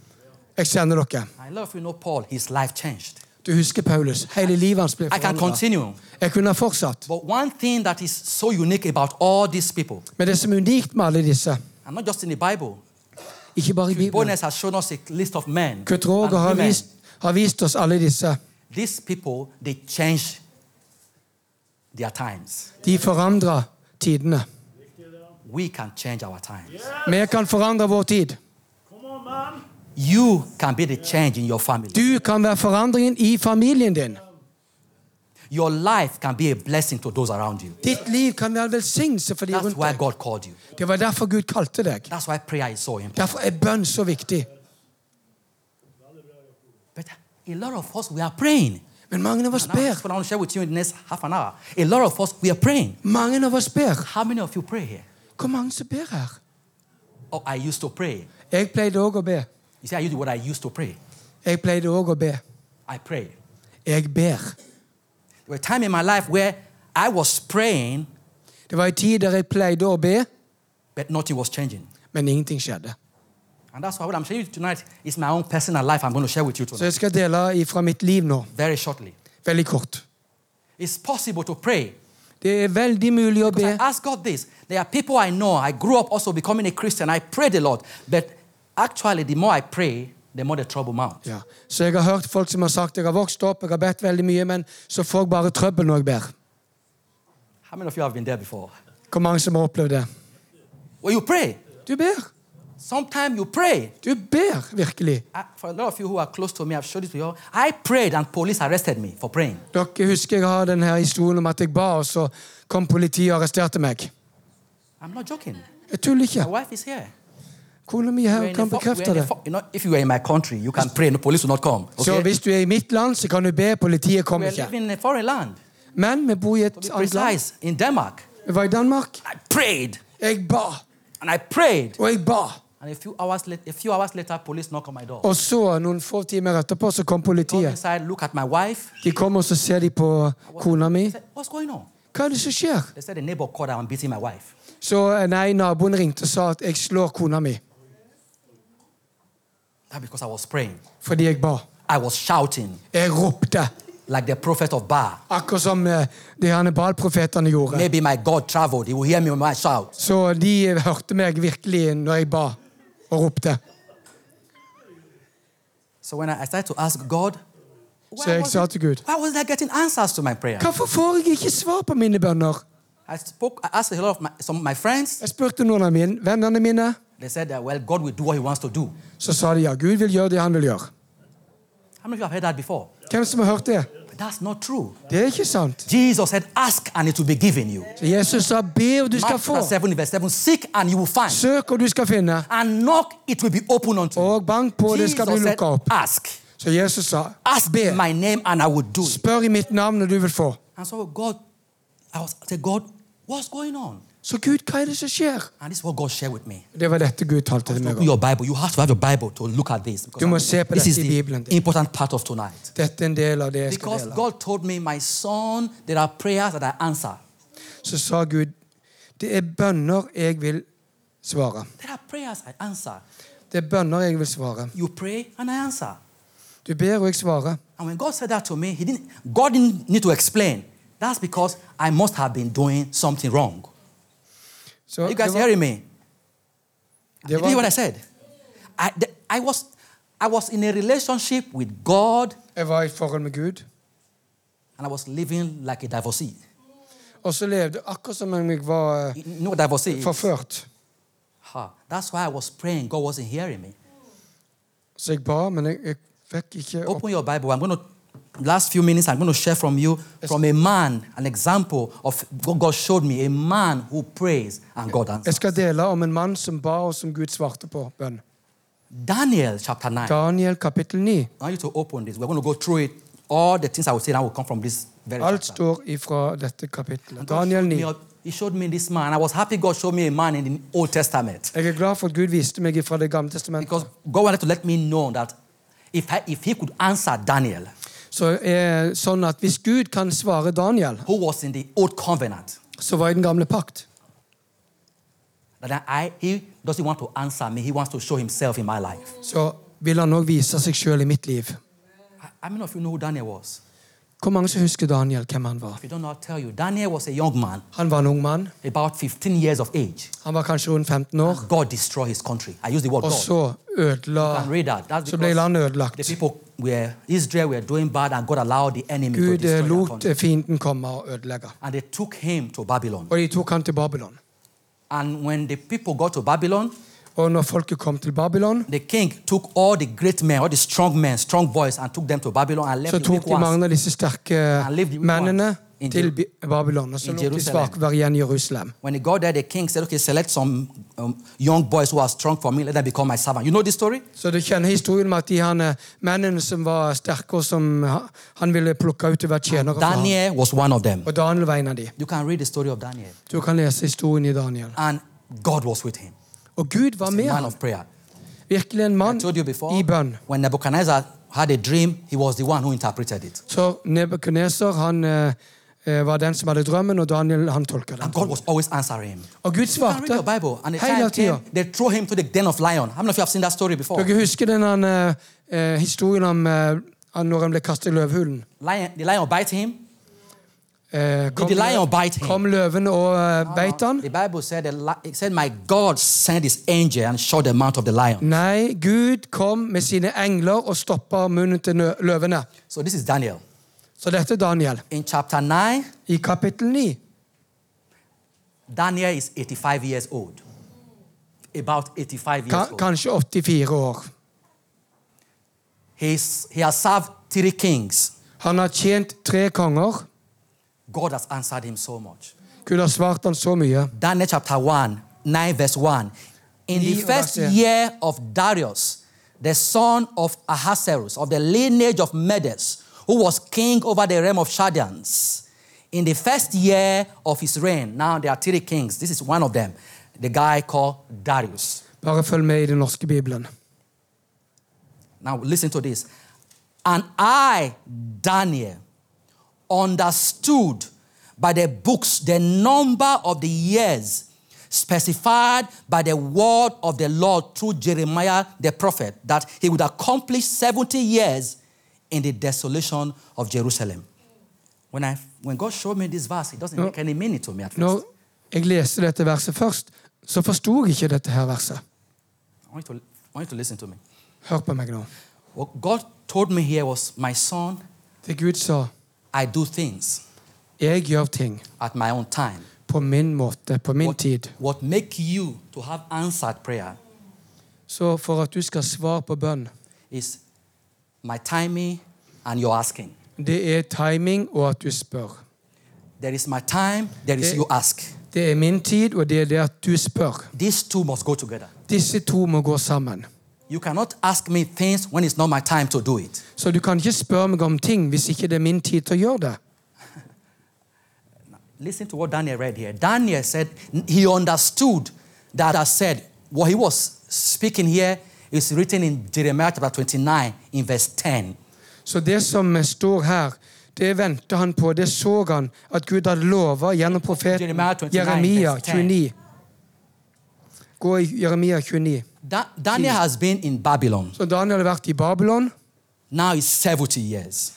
S3: jeg sender dere.
S2: I love if you know Paul, his life changed.
S3: Du husker Paulus. Hele livet hans ble
S2: I can
S3: forandret.
S2: continue.
S3: Jeg kunne ha fortsatt.
S2: But one thing that is so unique about all these people,
S3: Men det som er unikt med alle disse,
S2: and not just in the Bible,
S3: ikke bare i Bibelen
S2: Bonus has shown us a list of men.
S3: Kurt
S2: and
S3: Roger har
S2: women.
S3: vist, har vist oss alle disse.
S2: These people, they change their times.
S3: De forandrer tidene.
S2: We can change our times.
S3: Vi kan forandre vår tid.
S2: You can be the change in your family.
S3: Du kan være forandringen i familien din.
S2: Your life can be a blessing to those around you.
S3: Ditt liv kan være en velsignelse for de
S2: That's
S3: rundt
S2: why
S3: deg.
S2: God called you.
S3: Det var derfor Gud kalte deg.
S2: That's why prayer is so important.
S3: Derfor er bønn så viktig.
S2: But a lot of us, we are praying.
S3: Men mange av oss
S2: And now,
S3: ber.
S2: That's what I want to share with you in the next half an hour. A lot of us, we are praying.
S3: Mange av oss ber.
S2: How many of you pray here?
S3: Hvor mange som ber her?
S2: Oh, I used to pray.
S3: Jeg pleide òg å be.
S2: You see, I used what I used to pray.
S3: Jeg pleide òg å be.
S2: I pray.
S3: Jeg ber.
S2: There were times in my life where I was praying,
S3: Det var en tid der jeg pleide å be,
S2: but nothing was changing.
S3: men ingenting skjedde.
S2: And that's why what I'm sharing with you tonight is my own personal life I'm going to share with you
S3: Så
S2: tonight,
S3: jeg skal dele ifra mitt liv nå,
S2: very shortly.
S3: veldig kort.
S2: It's possible to pray.
S3: Det er veldig mulig å be.
S2: Because I ask God this. There are people I know. I grew up also becoming a Christian. I prayed a lot. But actually, the more I pray, the more the trouble mounts.
S3: Ja. Så jeg har hørt folk som har sagt jeg har vokst opp, jeg har bedt veldig mye, men så får jeg bare trøbbel når jeg ber.
S2: How many of you have been there before?
S3: Hvor mange som har opplevd det?
S2: Well, you pray.
S3: Du ber.
S2: Sometimes you pray.
S3: Du ber virkelig.
S2: I, for a lot of you who are close to me, I've showed it to you. all. I prayed and police arrested me for praying.
S3: Dere husker jeg har denne historien om at jeg ba, og så kom politiet og arresterte meg.
S2: I'm not joking.
S3: Jeg
S2: My
S3: tuller ikke.
S2: wife is here.
S3: Kona mi her
S2: We're in a
S3: kan
S2: fo- we're
S3: bekrefte
S2: in a
S3: det.
S2: fo- you know, if you were in my country, you can pray and the police will not come.
S3: Så
S2: Okay?
S3: hvis du er i mitt land, så kan du be. Politiet kommer
S2: We're
S3: ikke.
S2: living in a foreign land.
S3: Men vi bor i et
S2: To be
S3: annet land.
S2: precise, in Denmark.
S3: Vi var i Danmark.
S2: I prayed
S3: Jeg ba,
S2: and I prayed.
S3: og jeg ba.
S2: And a few hours, late, a few hours later, police knock on my door.
S3: Og så, noen få timer etterpå, så kom
S2: Go
S3: politiet.
S2: inside, look at my wife.
S3: De kom, og så ser de på kona mi.
S2: I said, What's going on?
S3: Hva er det som skjer?
S2: They said the neighbor called out and beating my wife.
S3: Så eh, nei, naboen ringte og sa at jeg slår kona mi
S2: That's because I was praying.
S3: fordi jeg ba.
S2: I was shouting
S3: Jeg ropte,
S2: like the prophet of Baal.
S3: akkurat som eh, de herne Baal-profetene gjorde.
S2: Maybe my God traveled. He will hear me when I shout.
S3: Så de hørte meg virkelig når jeg ba og ropte.
S2: So when I I started to ask God,
S3: Så jeg sa til Gud
S2: why wasn't I getting answers to my prayer?
S3: Hvorfor får jeg ikke svar på mine bønner?
S2: I spoke, I asked a lot of my, some of my friends.
S3: Jeg spurte noen av mine, vennene mine.
S2: They said that, well, God will do what he wants to do.
S3: Så sa de ja, Gud vil gjøre det han vil gjøre.
S2: How many of you have heard that before?
S3: Hvem som har hørt det?
S2: But that's not true.
S3: Det er ikke sant.
S2: Jesus said, ask and it will be given you.
S3: Så Jesus sa be og du skal
S2: Mark
S3: få.
S2: chapter 7, verse 7, seek and you will find.
S3: Søk og du skal finne.
S2: and knock, it will be open unto you.
S3: Og bank på, og det skal bli
S2: Jesus said,
S3: lukka opp.
S2: ask.
S3: Så Jesus sa
S2: Ask
S3: be.
S2: in my name and I will do it.
S3: Spør i mitt navn og du vil få.
S2: And so God, I was I said, God, what's going on?
S3: Så Gud, hva er det som skjer?
S2: And this is what God shared with me.
S3: Det var dette Gud talte til meg
S2: Open
S3: om.
S2: your Bible. You have to have your Bible to look at this. Because
S3: Du må
S2: I'm-
S3: se på
S2: this is
S3: dette i
S2: the
S3: Bibelen.
S2: important part of tonight.
S3: Dette er en del av det jeg skal
S2: Because
S3: dele.
S2: God told me, my son, there are prayers that I answer.
S3: Så sa Gud, det er bønner jeg vil svare.
S2: There are prayers I answer.
S3: Det er bønner jeg vil svare.
S2: You pray and I answer.
S3: Du ber og jeg svarer.
S2: And when God said that to me, he didn't, God didn't need to explain. That's because I must have been doing something wrong.
S3: Så
S2: Are you
S3: det
S2: guys
S3: var,
S2: hearing me?
S3: det
S2: You hear what I
S3: var,
S2: said? I, the- I, was, I was in a relationship with God
S3: jeg var i et forhold med Gud,
S2: and I was living like a divorcee.
S3: og så levde akkurat som om jeg var eh,
S2: You know what divorcee is?
S3: forført.
S2: Ha. That's why I was praying. God wasn't hearing me.
S3: Så jeg ba, men jeg, jeg fikk ikke opp.
S2: Open your Bible. I'm going to, last few minutes, I'm going to share from you from a man, an example of what God showed me, a man who prays and God answers.
S3: Jeg skal dele om en mann som ba, og som Gud svarte på bønn.
S2: Daniel chapter 9.
S3: Daniel kapittel 9.
S2: I want you to open this. We're going to go through it. All the things I will say now will come from this very
S3: Alt
S2: chapter.
S3: står ifra dette kapittelet.
S2: And God
S3: Daniel
S2: showed
S3: 9.
S2: me a- He showed me this man. I was happy God showed me a man in the Old Testament
S3: Jeg er glad for at Gud viste meg ifra Det gamle testamentet.
S2: because God wanted to let me know that if, I, if he could answer Daniel,
S3: Så er sånn at Hvis Gud kan svare Daniel,
S2: who was in the Old Covenant,
S3: så var jeg den gamle pakt.
S2: that I, he doesn't want to answer me. He wants to show himself in my life.
S3: Så vil han òg vise seg sjøl i mitt liv.
S2: I, I mean, if you know who Daniel was,
S3: Hvor mange som husker Daniel, hvem han var?
S2: if you don't know, I'll tell you. Daniel was a young man,
S3: Han var en ung mann.
S2: about 15 years of age.
S3: Han var kanskje rundt 15 år.
S2: God destroyed his country. I use the word
S3: Og
S2: God.
S3: så ødela
S2: can read that. That's
S3: Så
S2: because
S3: ble landet
S2: The
S3: ødelagt.
S2: people were Israel were doing bad, and God allowed the enemy to
S3: Gud eh,
S2: destroy their
S3: lot
S2: country.
S3: fienden komme og ødelegge.
S2: And they took him to Babylon.
S3: Og de tok han til Babylon.
S2: And when the people got to Babylon,
S3: Og når folket kom til Babylon,
S2: the king took all the great men, all the strong men, strong boys, and took them to Babylon and left
S3: så
S2: the weak
S3: tok de mange
S2: ones
S3: av disse sterke
S2: lived the weak
S3: mennene
S2: ones in
S3: til
S2: Jeru-
S3: Bi- Babylon. Og så
S2: in
S3: lot de
S2: Jerusalem.
S3: svake være igjen i Jerusalem.
S2: When they got there, the king said, "Okay, select some um, young boys who are strong for me. Let them become my servant." You know this story?
S3: Så du kjenner historien med at de han, eh, mennene som var sterke, og som ha- han ville plukke ut til å være tjenere for ham.
S2: Daniel was one of them.
S3: Og Daniel var en av de.
S2: You can read the story of Daniel,
S3: Du kan lese historien i Daniel.
S2: and God was with him.
S3: Og Gud var
S2: A
S3: med
S2: man
S3: ham.
S2: of prayer.
S3: Virkelig en
S2: I
S3: mann
S2: told you before,
S3: i bønn.
S2: when Nebuchadnezzar had a dream, he was the one who interpreted it.
S3: Så Nebukadneser, han eh, eh, var den som hadde drømmen, og Daniel han tolka den.
S2: And God was always answering him.
S3: Og Gud
S2: You can read
S3: svarte
S2: your Bible, and the time
S3: hele tida.
S2: came, they threw him to the den of lion. How many of you have seen that story before?
S3: Dere husker den eh, eh, historien om eh, han når han ble kastet i løvhulen?
S2: Lion, the lion bite him.
S3: Eh, kom,
S2: the lion bite him? Ah.
S3: kom løven og eh, beit han?
S2: Uh-huh. The Bible said, the li- it said, "My God sent His angel and shut the mouth of the lion."
S3: Nei, Gud kom med sine engler og stoppa munnen til nø- løvene.
S2: So this is Daniel
S3: Så dette er Daniel.
S2: in chapter nine.
S3: I kapittel 9.
S2: Daniel is 85 years old, about 85 years
S3: Ka
S2: old.
S3: kanskje 84 år.
S2: He's, he has served three kings.
S3: Han har tjent tre konger.
S2: God has answered him so much.
S3: Gud har svart han så mye.
S2: Daniel chapter 1, 9 verse 1. In the
S3: Ni och
S2: first
S3: vers ett.
S2: year of Darius, the son of Ahasuerus, of the lineage of Medes, who was king over the realm of Shadians, in the first year of his reign, now there are three kings. This is one of them, the guy called Darius.
S3: Bare følg med i den norske bibelen.
S2: Now listen to this. And I, Daniel, understood by the books the number of the years specified by the word of the Lord through Jeremiah the prophet that he would accomplish 70 years in the desolation of Jerusalem. When, I, when God showed me this verse, it doesn't make any meaning to me at first.
S3: Når jeg leste dette verset først, så forsto jeg ikke dette her verset.
S2: I want, you to, I want you to listen to me.
S3: Hør på meg nå.
S2: What God told me here was, My son,
S3: Det Gud sa,
S2: I do things
S3: jeg gjør ting
S2: at my own time.
S3: på min måte, på min
S2: What,
S3: tid.
S2: what make you to have answered prayer
S3: Så for at du skal svare på bønn,
S2: is my timing and your asking.
S3: det er timing og at du spør.
S2: There is my time, there is
S3: Eh.
S2: you ask.
S3: Det er min tid, og det er det at du spør.
S2: These two must go together.
S3: Disse to må gå sammen.
S2: You cannot ask me things when it's not my time to do it.
S3: Så du kan ikke spørre meg om ting hvis ikke det er min tid til å gjøre det.
S2: Listen to what Daniel read here. Daniel said he understood that I said what he was speaking here is written in Jeremiah chapter 29 in verse 10.
S3: Så det som står her, det ventet han på, det så han at Gud hadde lovet gjennom profeten
S2: Jeremiah 29,
S3: Jeremia
S2: vers 10.
S3: 29. Gå i Jeremia 29.
S2: Da- Daniel has been in Babylon.
S3: Så Daniel har vært i Babylon.
S2: Now it's 70 years.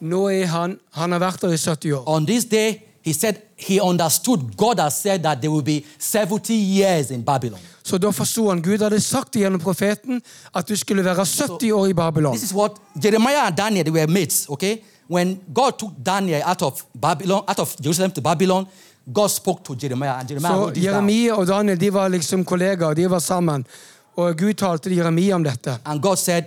S3: Nå er han Han har vært der i 70 år.
S2: On this day, he said he understood God has said that there will be 70 years in Babylon.
S3: Så da forsto han Gud hadde sagt det gjennom profeten at du skulle være 70 år i Babylon.
S2: This is what Jeremiah and Daniel they were mates, okay? When God took Daniel out of Babylon, out of Jerusalem to Babylon, God spoke to Jeremiah and Jeremiah
S3: Så
S2: wrote this down.
S3: Jeremia og Daniel de var liksom kollegaer, de var sammen. Og Gud talte til Jeremia om dette.
S2: And God said,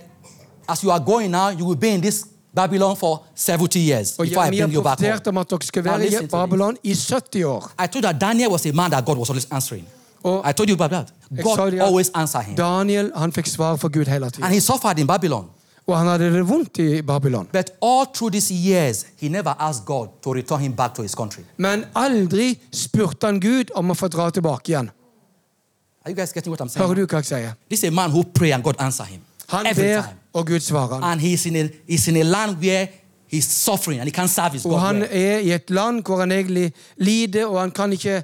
S2: As you are going now, you will be in this Babylon for 70 years
S3: Og
S2: before I
S3: Jeremia
S2: bring you back
S3: profeterte
S2: home.
S3: om at dere skal
S2: Now
S3: være
S2: listen to
S3: i
S2: this.
S3: Babylon i 70 år.
S2: I told you that Daniel was a man that God was always answering.
S3: Oh.
S2: I told you about that.
S3: Jeg sa
S2: God
S3: det at
S2: always answered him.
S3: Daniel han fikk svar for Gud hele
S2: And
S3: tiden.
S2: he suffered in Babylon.
S3: Og han hadde det vondt i Babylon.
S2: But all through these years, he never asked God to return him back to his country.
S3: Men aldri spurte han Gud om å få dra tilbake igjen.
S2: Are you guys getting what I'm saying?
S3: Hører du hva jeg sier?
S2: This is a man who prayed and God answered him.
S3: Han
S2: Every
S3: ber,
S2: time.
S3: og Gud svarer han.
S2: And he's in, a, he's in a land where he's suffering and he can't serve his
S3: Og
S2: God.
S3: han
S2: well.
S3: er i et land hvor han egentlig lider, og han kan ikke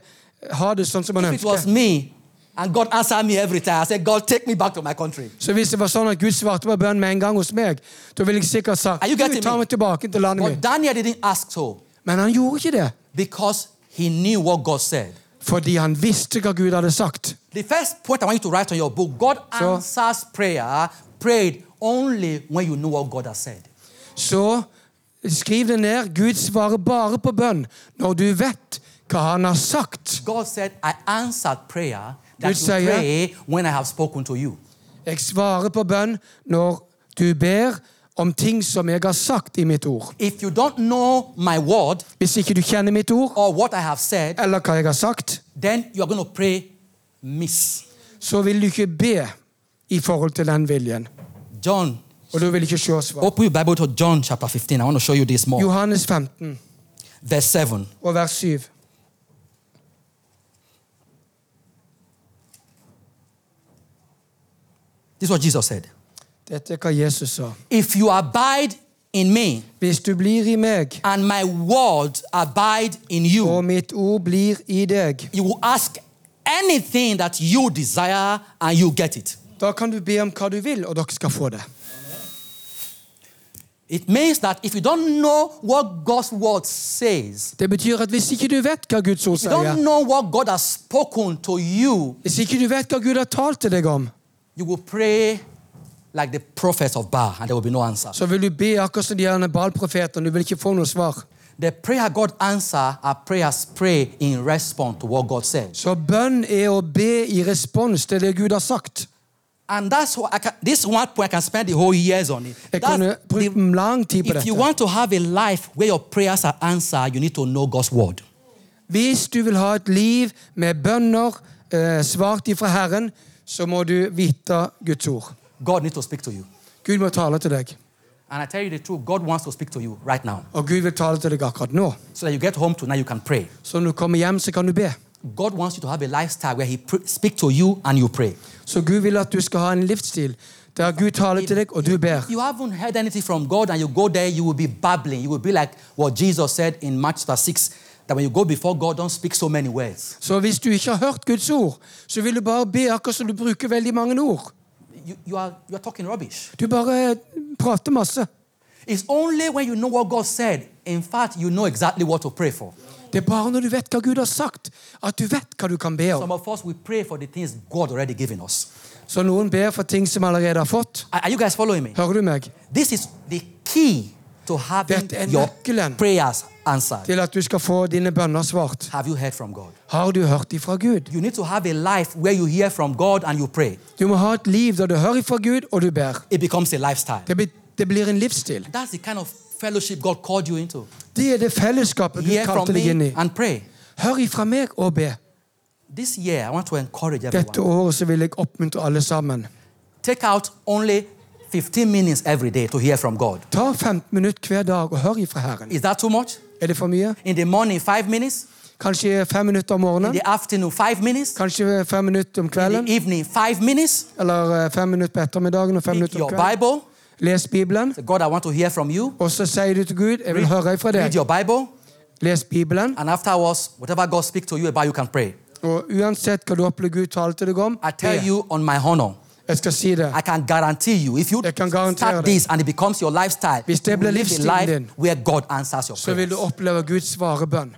S3: ha det sånn som han
S2: If it was
S3: ønsker.
S2: me, and God answered me every time, I said, God, take me back to my country.
S3: Så hvis det var sånn at Gud svarte på bønnen med en gang hos meg, da ville jeg sikkert sagt
S2: Are you
S3: Gud,
S2: getting
S3: ta
S2: me?
S3: meg tilbake til landet
S2: But
S3: mitt.
S2: Daniel didn't ask so
S3: Men han gjorde ikke det,
S2: because he knew what God said.
S3: fordi han visste hva Gud hadde sagt.
S2: The first point I want you to write on your book God
S3: So-
S2: answers prayer prayed only when you know what God has said.
S3: Så skriv det ned. Gud svarer bare på bønn når du vet hva han har sagt.
S2: God said, I answered prayer that
S3: Gud
S2: you
S3: sier-
S2: pray when I have spoken to you.
S3: Jeg svarer på bønn når du ber om ting som jeg har sagt i mitt ord.
S2: If you don't know my word
S3: Hvis ikke du kjenner mitt ord,
S2: or what I have said,
S3: eller hva jeg har sagt,
S2: then you are going to pray miss.
S3: så vil du ikke be i forhold til den viljen.
S2: John,
S3: Og du vil ikke se svar.
S2: open your Bible to John chapter 15. I want to show you this more.
S3: Johannes 15
S2: Verse 7.
S3: og vers 7.
S2: This is what Jesus said.
S3: Dette er hva Jesus sa.
S2: If you abide in me,
S3: Hvis du blir i meg,
S2: and my word abide in you.
S3: og mitt ord blir i deg,
S2: You will ask anything that you desire and you get it.
S3: da kan du be om hva du vil, og dere skal få det.
S2: It means that if you don't know what God's word says,
S3: Det betyr at hvis ikke du vet hva Guds ord
S2: if you
S3: sier,
S2: don't know what God has spoken to you,
S3: hvis ikke du vet hva Gud har talt til deg om,
S2: you will pray like the prophets of Baal and there will be no answer.
S3: så vil du be akkurat som de her Baal-profetene. Du vil ikke få noe svar.
S2: The prayer God answer are prayers pray in response to what God says.
S3: Så bønn er å be i respons til det Gud har sagt.
S2: And that's why I can, this one point I can spend the whole years on it.
S3: Jeg
S2: That's
S3: kunne brukt
S2: the-
S3: lang tid på
S2: If you
S3: dette.
S2: want to have a life where your prayers are answered, you need to know God's word.
S3: Hvis du vil ha et liv med bønner eh, svart ifra Herren, så må du vite Guds ord.
S2: God needs to speak to you.
S3: Gud må tale til deg,
S2: And I tell you the truth, God wants to speak to you right now.
S3: og Gud vil tale til deg akkurat nå.
S2: So that you get home tonight, you can pray.
S3: Så når du kommer hjem, så kan du be.
S2: God wants you to have a lifestyle where He pr- speak to you and you pray.
S3: Så Gud vil at du skal ha en livsstil der Gud taler til deg, og du ber.
S2: If you haven't heard anything from God and you go there, you will be babbling. You will be like what Jesus said in Matthew chapter 6 that when you go before God, don't speak so many words.
S3: Så hvis du ikke har hørt Guds ord, så vil du bare be akkurat som du bruker veldig mange ord.
S2: You, you, are, you are talking rubbish.
S3: Du bare prater masse.
S2: It's only when you know what God said, in fact, you know exactly what to pray for.
S3: Det er bare når du vet hva Gud har sagt, at du vet hva du kan be
S2: Some
S3: om.
S2: of us, we pray for the things God already given us.
S3: Så noen ber for ting som allerede har fått.
S2: Are are you guys following me?
S3: Hører du meg?
S2: This is the key to having
S3: Dette er
S2: your
S3: nøkkelen.
S2: prayers answered.
S3: Til at du skal få dine bønner svart.
S2: Have you heard from God?
S3: Har du hørt ifra Gud?
S2: You need to have a life where you hear from God and you pray.
S3: Du må ha et liv der du hører ifra Gud, og du ber.
S2: It becomes a lifestyle.
S3: Det blir, det blir en livsstil.
S2: That's the kind of fellowship God called you into.
S3: Det er det fellesskapet du
S2: Hear from
S3: kalte deg inn i.
S2: me and pray.
S3: Hør ifra meg og be.
S2: This year, I want to encourage
S3: Dette
S2: everyone.
S3: året så vil jeg oppmuntre alle sammen.
S2: Take out only 15 minutes every day to hear from God.
S3: Ta 15 minutter hver dag og hør ifra Herren.
S2: Is that too much?
S3: Er det for mye?
S2: In the morning, five minutes.
S3: Kanskje fem minutter
S2: In
S3: om morgenen?
S2: the afternoon, five minutes.
S3: Kanskje fem minutter om
S2: In
S3: kvelden?
S2: the evening, five minutes.
S3: Eller eh, fem minutter på ettermiddagen og fem
S2: Pick
S3: minutter om
S2: your
S3: kvelden?
S2: Bible.
S3: Les Bibelen,
S2: Say, God, I want to hear from you.
S3: og så sier du til Gud jeg vil høre ifra
S2: Read
S3: deg.
S2: your Bible.
S3: Les Bibelen,
S2: And afterwards, whatever God speaks to you about, you can pray.
S3: og uansett hva du opplever Gud taler til deg om,
S2: I tell
S3: be.
S2: you on my honor,
S3: jeg skal si det.
S2: I can guarantee you, if you
S3: Jeg kan garantere
S2: start
S3: det.
S2: this and it becomes your lifestyle,
S3: Hvis det
S2: you
S3: blir
S2: will live a
S3: livsstilen din,
S2: life where God answers your
S3: Så vil du
S2: prayers.
S3: oppleve Guds svare bønn.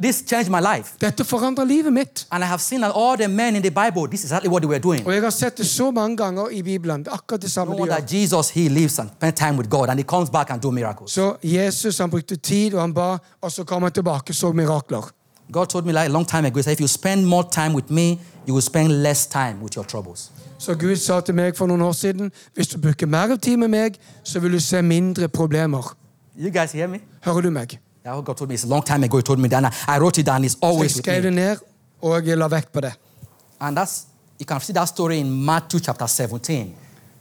S2: This changed my life.
S3: Dette forandrer livet mitt.
S2: And I have seen that all the men in the Bible, this is exactly what they were doing.
S3: Og jeg har sett det så mange ganger i Bibelen. Det er akkurat
S2: No
S3: det samme de
S2: wonder
S3: gjør.
S2: Jesus, he lives and spends time with God and he comes back and do miracles.
S3: Så Jesus han brukte tid, og han ba, og så kom han tilbake og så mirakler.
S2: God told me like a long time ago, he said, if you spend more time with me, you will spend less time with your troubles.
S3: Så Gud sa til meg for noen år siden hvis du bruker mer tid med meg, så vil du se mindre problemer.
S2: You guys hear me?
S3: Hører du meg?
S2: That's what God told me. It's a long time ago. He told me that. And I I wrote it down. It's
S3: Så jeg
S2: always with me.
S3: skrev det ned, og jeg la vekt på det.
S2: And that's you can see that story in Matthew chapter 17.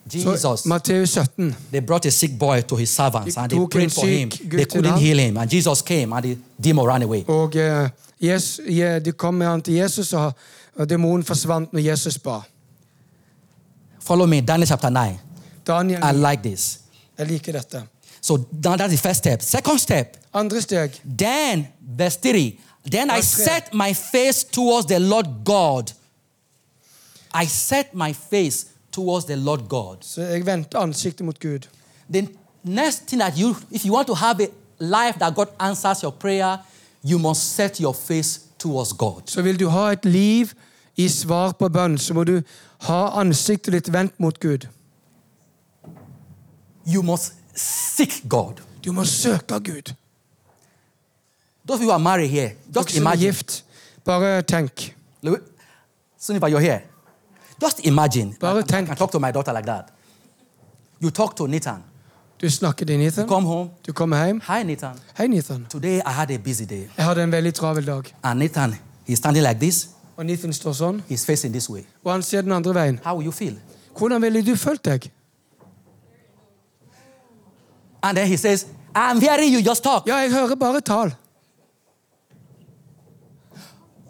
S3: Så
S2: Jesus,
S3: Matteus 17.
S2: they brought a sick boy to his servants
S3: De
S2: and they
S3: tok en
S2: prayed for him.
S3: syk gutt
S2: They
S3: til
S2: couldn't
S3: ham.
S2: heal him. And Jesus came and the demon ran away.
S3: Og eh, Jes- Je- de kom med han til Jesus, og og demonen forsvant når Jesus ba.
S2: Follow me, Daniel chapter 9.
S3: Daniel,
S2: I like this.
S3: jeg liker dette.
S2: So that- that's the first step. Second step,
S3: Andre steg.
S2: then, verse 3. Then I
S3: Verse three.
S2: set my face towards the Lord God. I set my face towards the Lord God.
S3: Så jeg vendte ansiktet mot Gud.
S2: The next thing that you, if you want to have a life that God answers your prayer, you must set your face towards God.
S3: Så vil du ha et liv i svar på bønn, så må du ha ansiktet ditt vendt mot Gud.
S2: You must seek God.
S3: Du må søke Gud.
S2: Those of you who are married here,
S3: Dere
S2: just
S3: som er
S2: imagine.
S3: gift, bare tenk.
S2: Sunniva, you're here. Just imagine.
S3: Bara
S2: I, I
S3: tänk.
S2: can talk to my daughter like that. You talk to Nathan.
S3: Du snakker til Nathan.
S2: Come home.
S3: Du kommer hjem.
S2: Hi, Nathan.
S3: Hei, Nathan.
S2: Today I had a busy day.
S3: Jeg hadde en veldig travel dag.
S2: And Nathan, he's standing like this,
S3: Og Nathan står sånn,
S2: he's facing this way.
S3: og han ser den andre veien.
S2: How will you feel?
S3: Hvordan ville du følt deg?
S2: And then he says, I'm hearing you, just talk.
S3: Ja, jeg hører bare tall.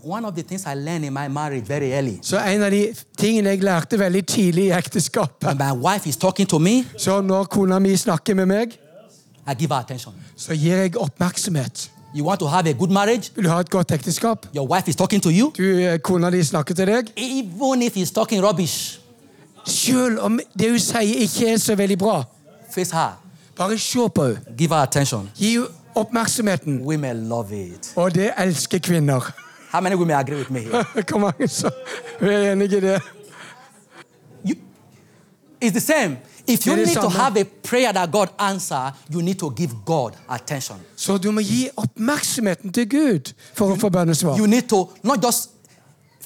S2: One of the things I learned in my marriage very early
S3: Så en av de tingene jeg lærte veldig tidlig i ekteskapet
S2: When my wife is talking to me,
S3: Så når kona mi snakker med meg,
S2: I give her attention.
S3: så gir jeg oppmerksomhet.
S2: You want to have a good marriage?
S3: Vil du ha et godt ekteskap?
S2: Your wife is talking to you.
S3: Du, eh, Kona di snakker til deg.
S2: Even if he's talking rubbish,
S3: Selv om det hun sier, ikke er så veldig bra,
S2: face her.
S3: bare se på henne.
S2: Give her attention.
S3: Gi henne oppmerksomheten.
S2: Women love it.
S3: Og det elsker kvinner.
S2: How many women agree with me here?
S3: Hvor mange som er enig i det?
S2: You, it's the same. If you
S3: It is
S2: need to
S3: something.
S2: have a prayer that God answer, you need to give God attention.
S3: Så du må gi oppmerksomheten til Gud for å få bønnesvar.
S2: You need to not just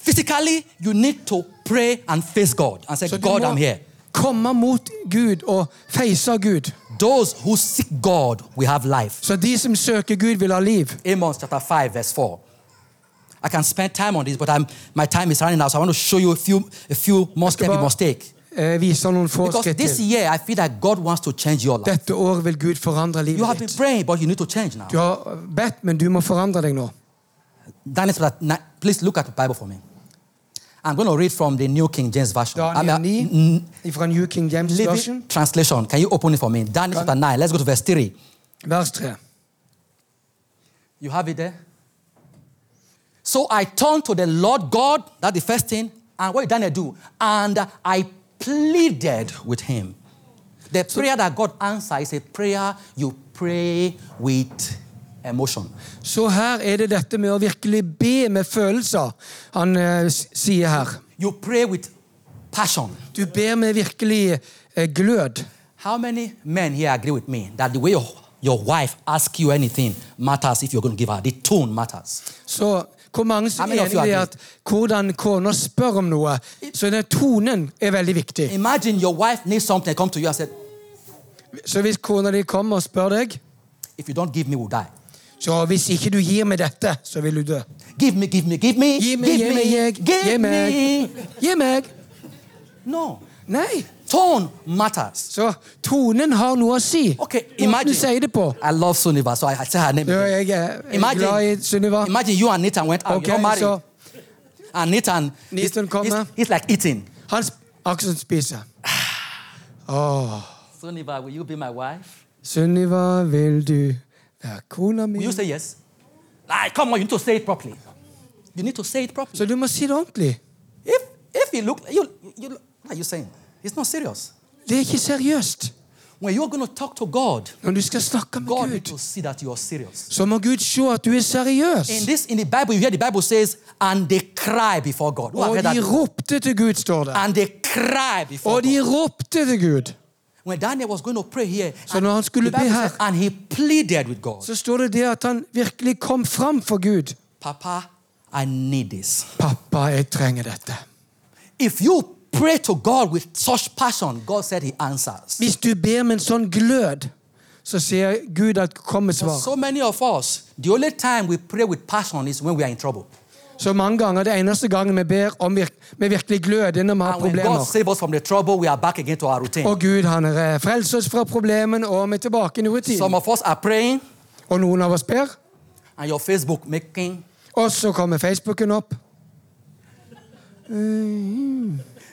S2: physically, you need to pray and face God and say,
S3: Så du
S2: God,
S3: må
S2: I'm here.
S3: komme mot Gud og face Gud.
S2: Those who seek God will have life.
S3: Så de som søker Gud, vil ha liv.
S2: Amos chapter 5, verse 4. I can spend time on this, but I'm, my time is running out, so I want to show you a few, a few more steps you
S3: bare-
S2: must take.
S3: Eh, viser noen få
S2: Because
S3: skritt
S2: this
S3: til.
S2: year, I feel that God wants to change your life.
S3: Dette år vil Gud forandre
S2: You have
S3: livet
S2: been
S3: ditt.
S2: praying, but you need to change now.
S3: Du har bedt, men du må forandre deg nå.
S2: Daniel chapter 9, please look at the Bible for me. I'm going to read from the New King James Version.
S3: Daniel
S2: I mean,
S3: 9 fra New King James
S2: Living
S3: Version,
S2: translation. Can you open it for me? Daniel chapter 9. Let's go to verse 3.
S3: vers 3.
S2: You have it there? So I turned to the Lord God, that's the first thing. And what did Daniel do? And I pleaded with him. The prayer that God answers is a prayer you pray with emotion.
S3: Så her er det dette med å virkelig be med følelser han eh, s- sier her.
S2: You pray with passion.
S3: Du ber med virkelig eh, glød.
S2: How many men here agree with me that the way your, your wife asks you anything matters if you're going to give her? The tone matters.
S3: Så hvor mange som
S2: Ja, men
S3: er
S2: jeg tror
S3: enig i
S2: jeg-
S3: at hvordan kona spør om noe, så den tonen er veldig viktig.
S2: Imagine your wife needs something, come to you and said,
S3: Så hvis kona di kommer og spør deg
S2: If you don't give me, we'll die.
S3: så hvis ikke du gir meg dette, så vil du dø.
S2: Give me, give me, give me.
S3: Gi meg, gi
S2: give
S3: meg, jeg,
S2: give
S3: gi meg.
S2: me.
S3: Gi meg.
S2: No.
S3: Nei.
S2: Tone matters.
S3: Så tonen har noe å si.
S2: Okay,
S3: Måten
S2: imagine.
S3: du sier det på.
S2: I love Suniva, so I, I say her name.
S3: Ja,
S2: again.
S3: jeg er jeg er glad i
S2: Imagine,
S3: Sunniva.
S2: imagine you and Nathan went out.
S3: Ok,
S2: you're married.
S3: så
S2: and Nathan, he's,
S3: Nathan come.
S2: he's- he's like eating.
S3: han sp- Aksen spiser.
S2: Suniva, will you be my wife?
S3: Sunniva, vil du være kona mi?
S2: Will you say yes? Like, come on, you need to say it properly. You need to say it properly.
S3: Så du må si det ordentlig.
S2: If if he look, you you what are you saying? It's not serious.
S3: Det er ikke seriøst.
S2: When you're going to talk to God,
S3: Når du skal snakke med
S2: God need to
S3: Gud,
S2: see that you're serious.
S3: så må Gud se at du er seriøs.
S2: In this, in the Bible, you hear the Bible says, "And they cry before God." Who have
S3: Og
S2: heard that
S3: de
S2: before?
S3: ropte til Gud, står det.
S2: And they cry before
S3: Og de
S2: God.
S3: ropte til Gud.
S2: When Daniel was going to pray here,
S3: Så
S2: and
S3: når han skulle
S2: the Bible
S3: be her-
S2: says, and he pleaded with God,
S3: Så står det det at han virkelig kom fram for Gud.
S2: "Papa, I need this."
S3: Pappa, jeg trenger dette.
S2: If you pray to God with such passion, God said He answers.
S3: Hvis du ber med en sånn glød, så sier Gud at kom med svar.
S2: So many of us, the only time we pray with passion is when we are in trouble.
S3: Så mange ganger, det eneste gangen vi ber om virk med virkelig glød, det er når vi har
S2: And when God
S3: problemer.
S2: saves us from the trouble, we are back again to our routine.
S3: Og Gud han er eh, frelser oss fra problemene, og vi er tilbake inn i
S2: Some
S3: rutinen.
S2: of us are praying,
S3: Og noen av oss ber,
S2: and your Facebook making.
S3: og så kommer Facebooken opp.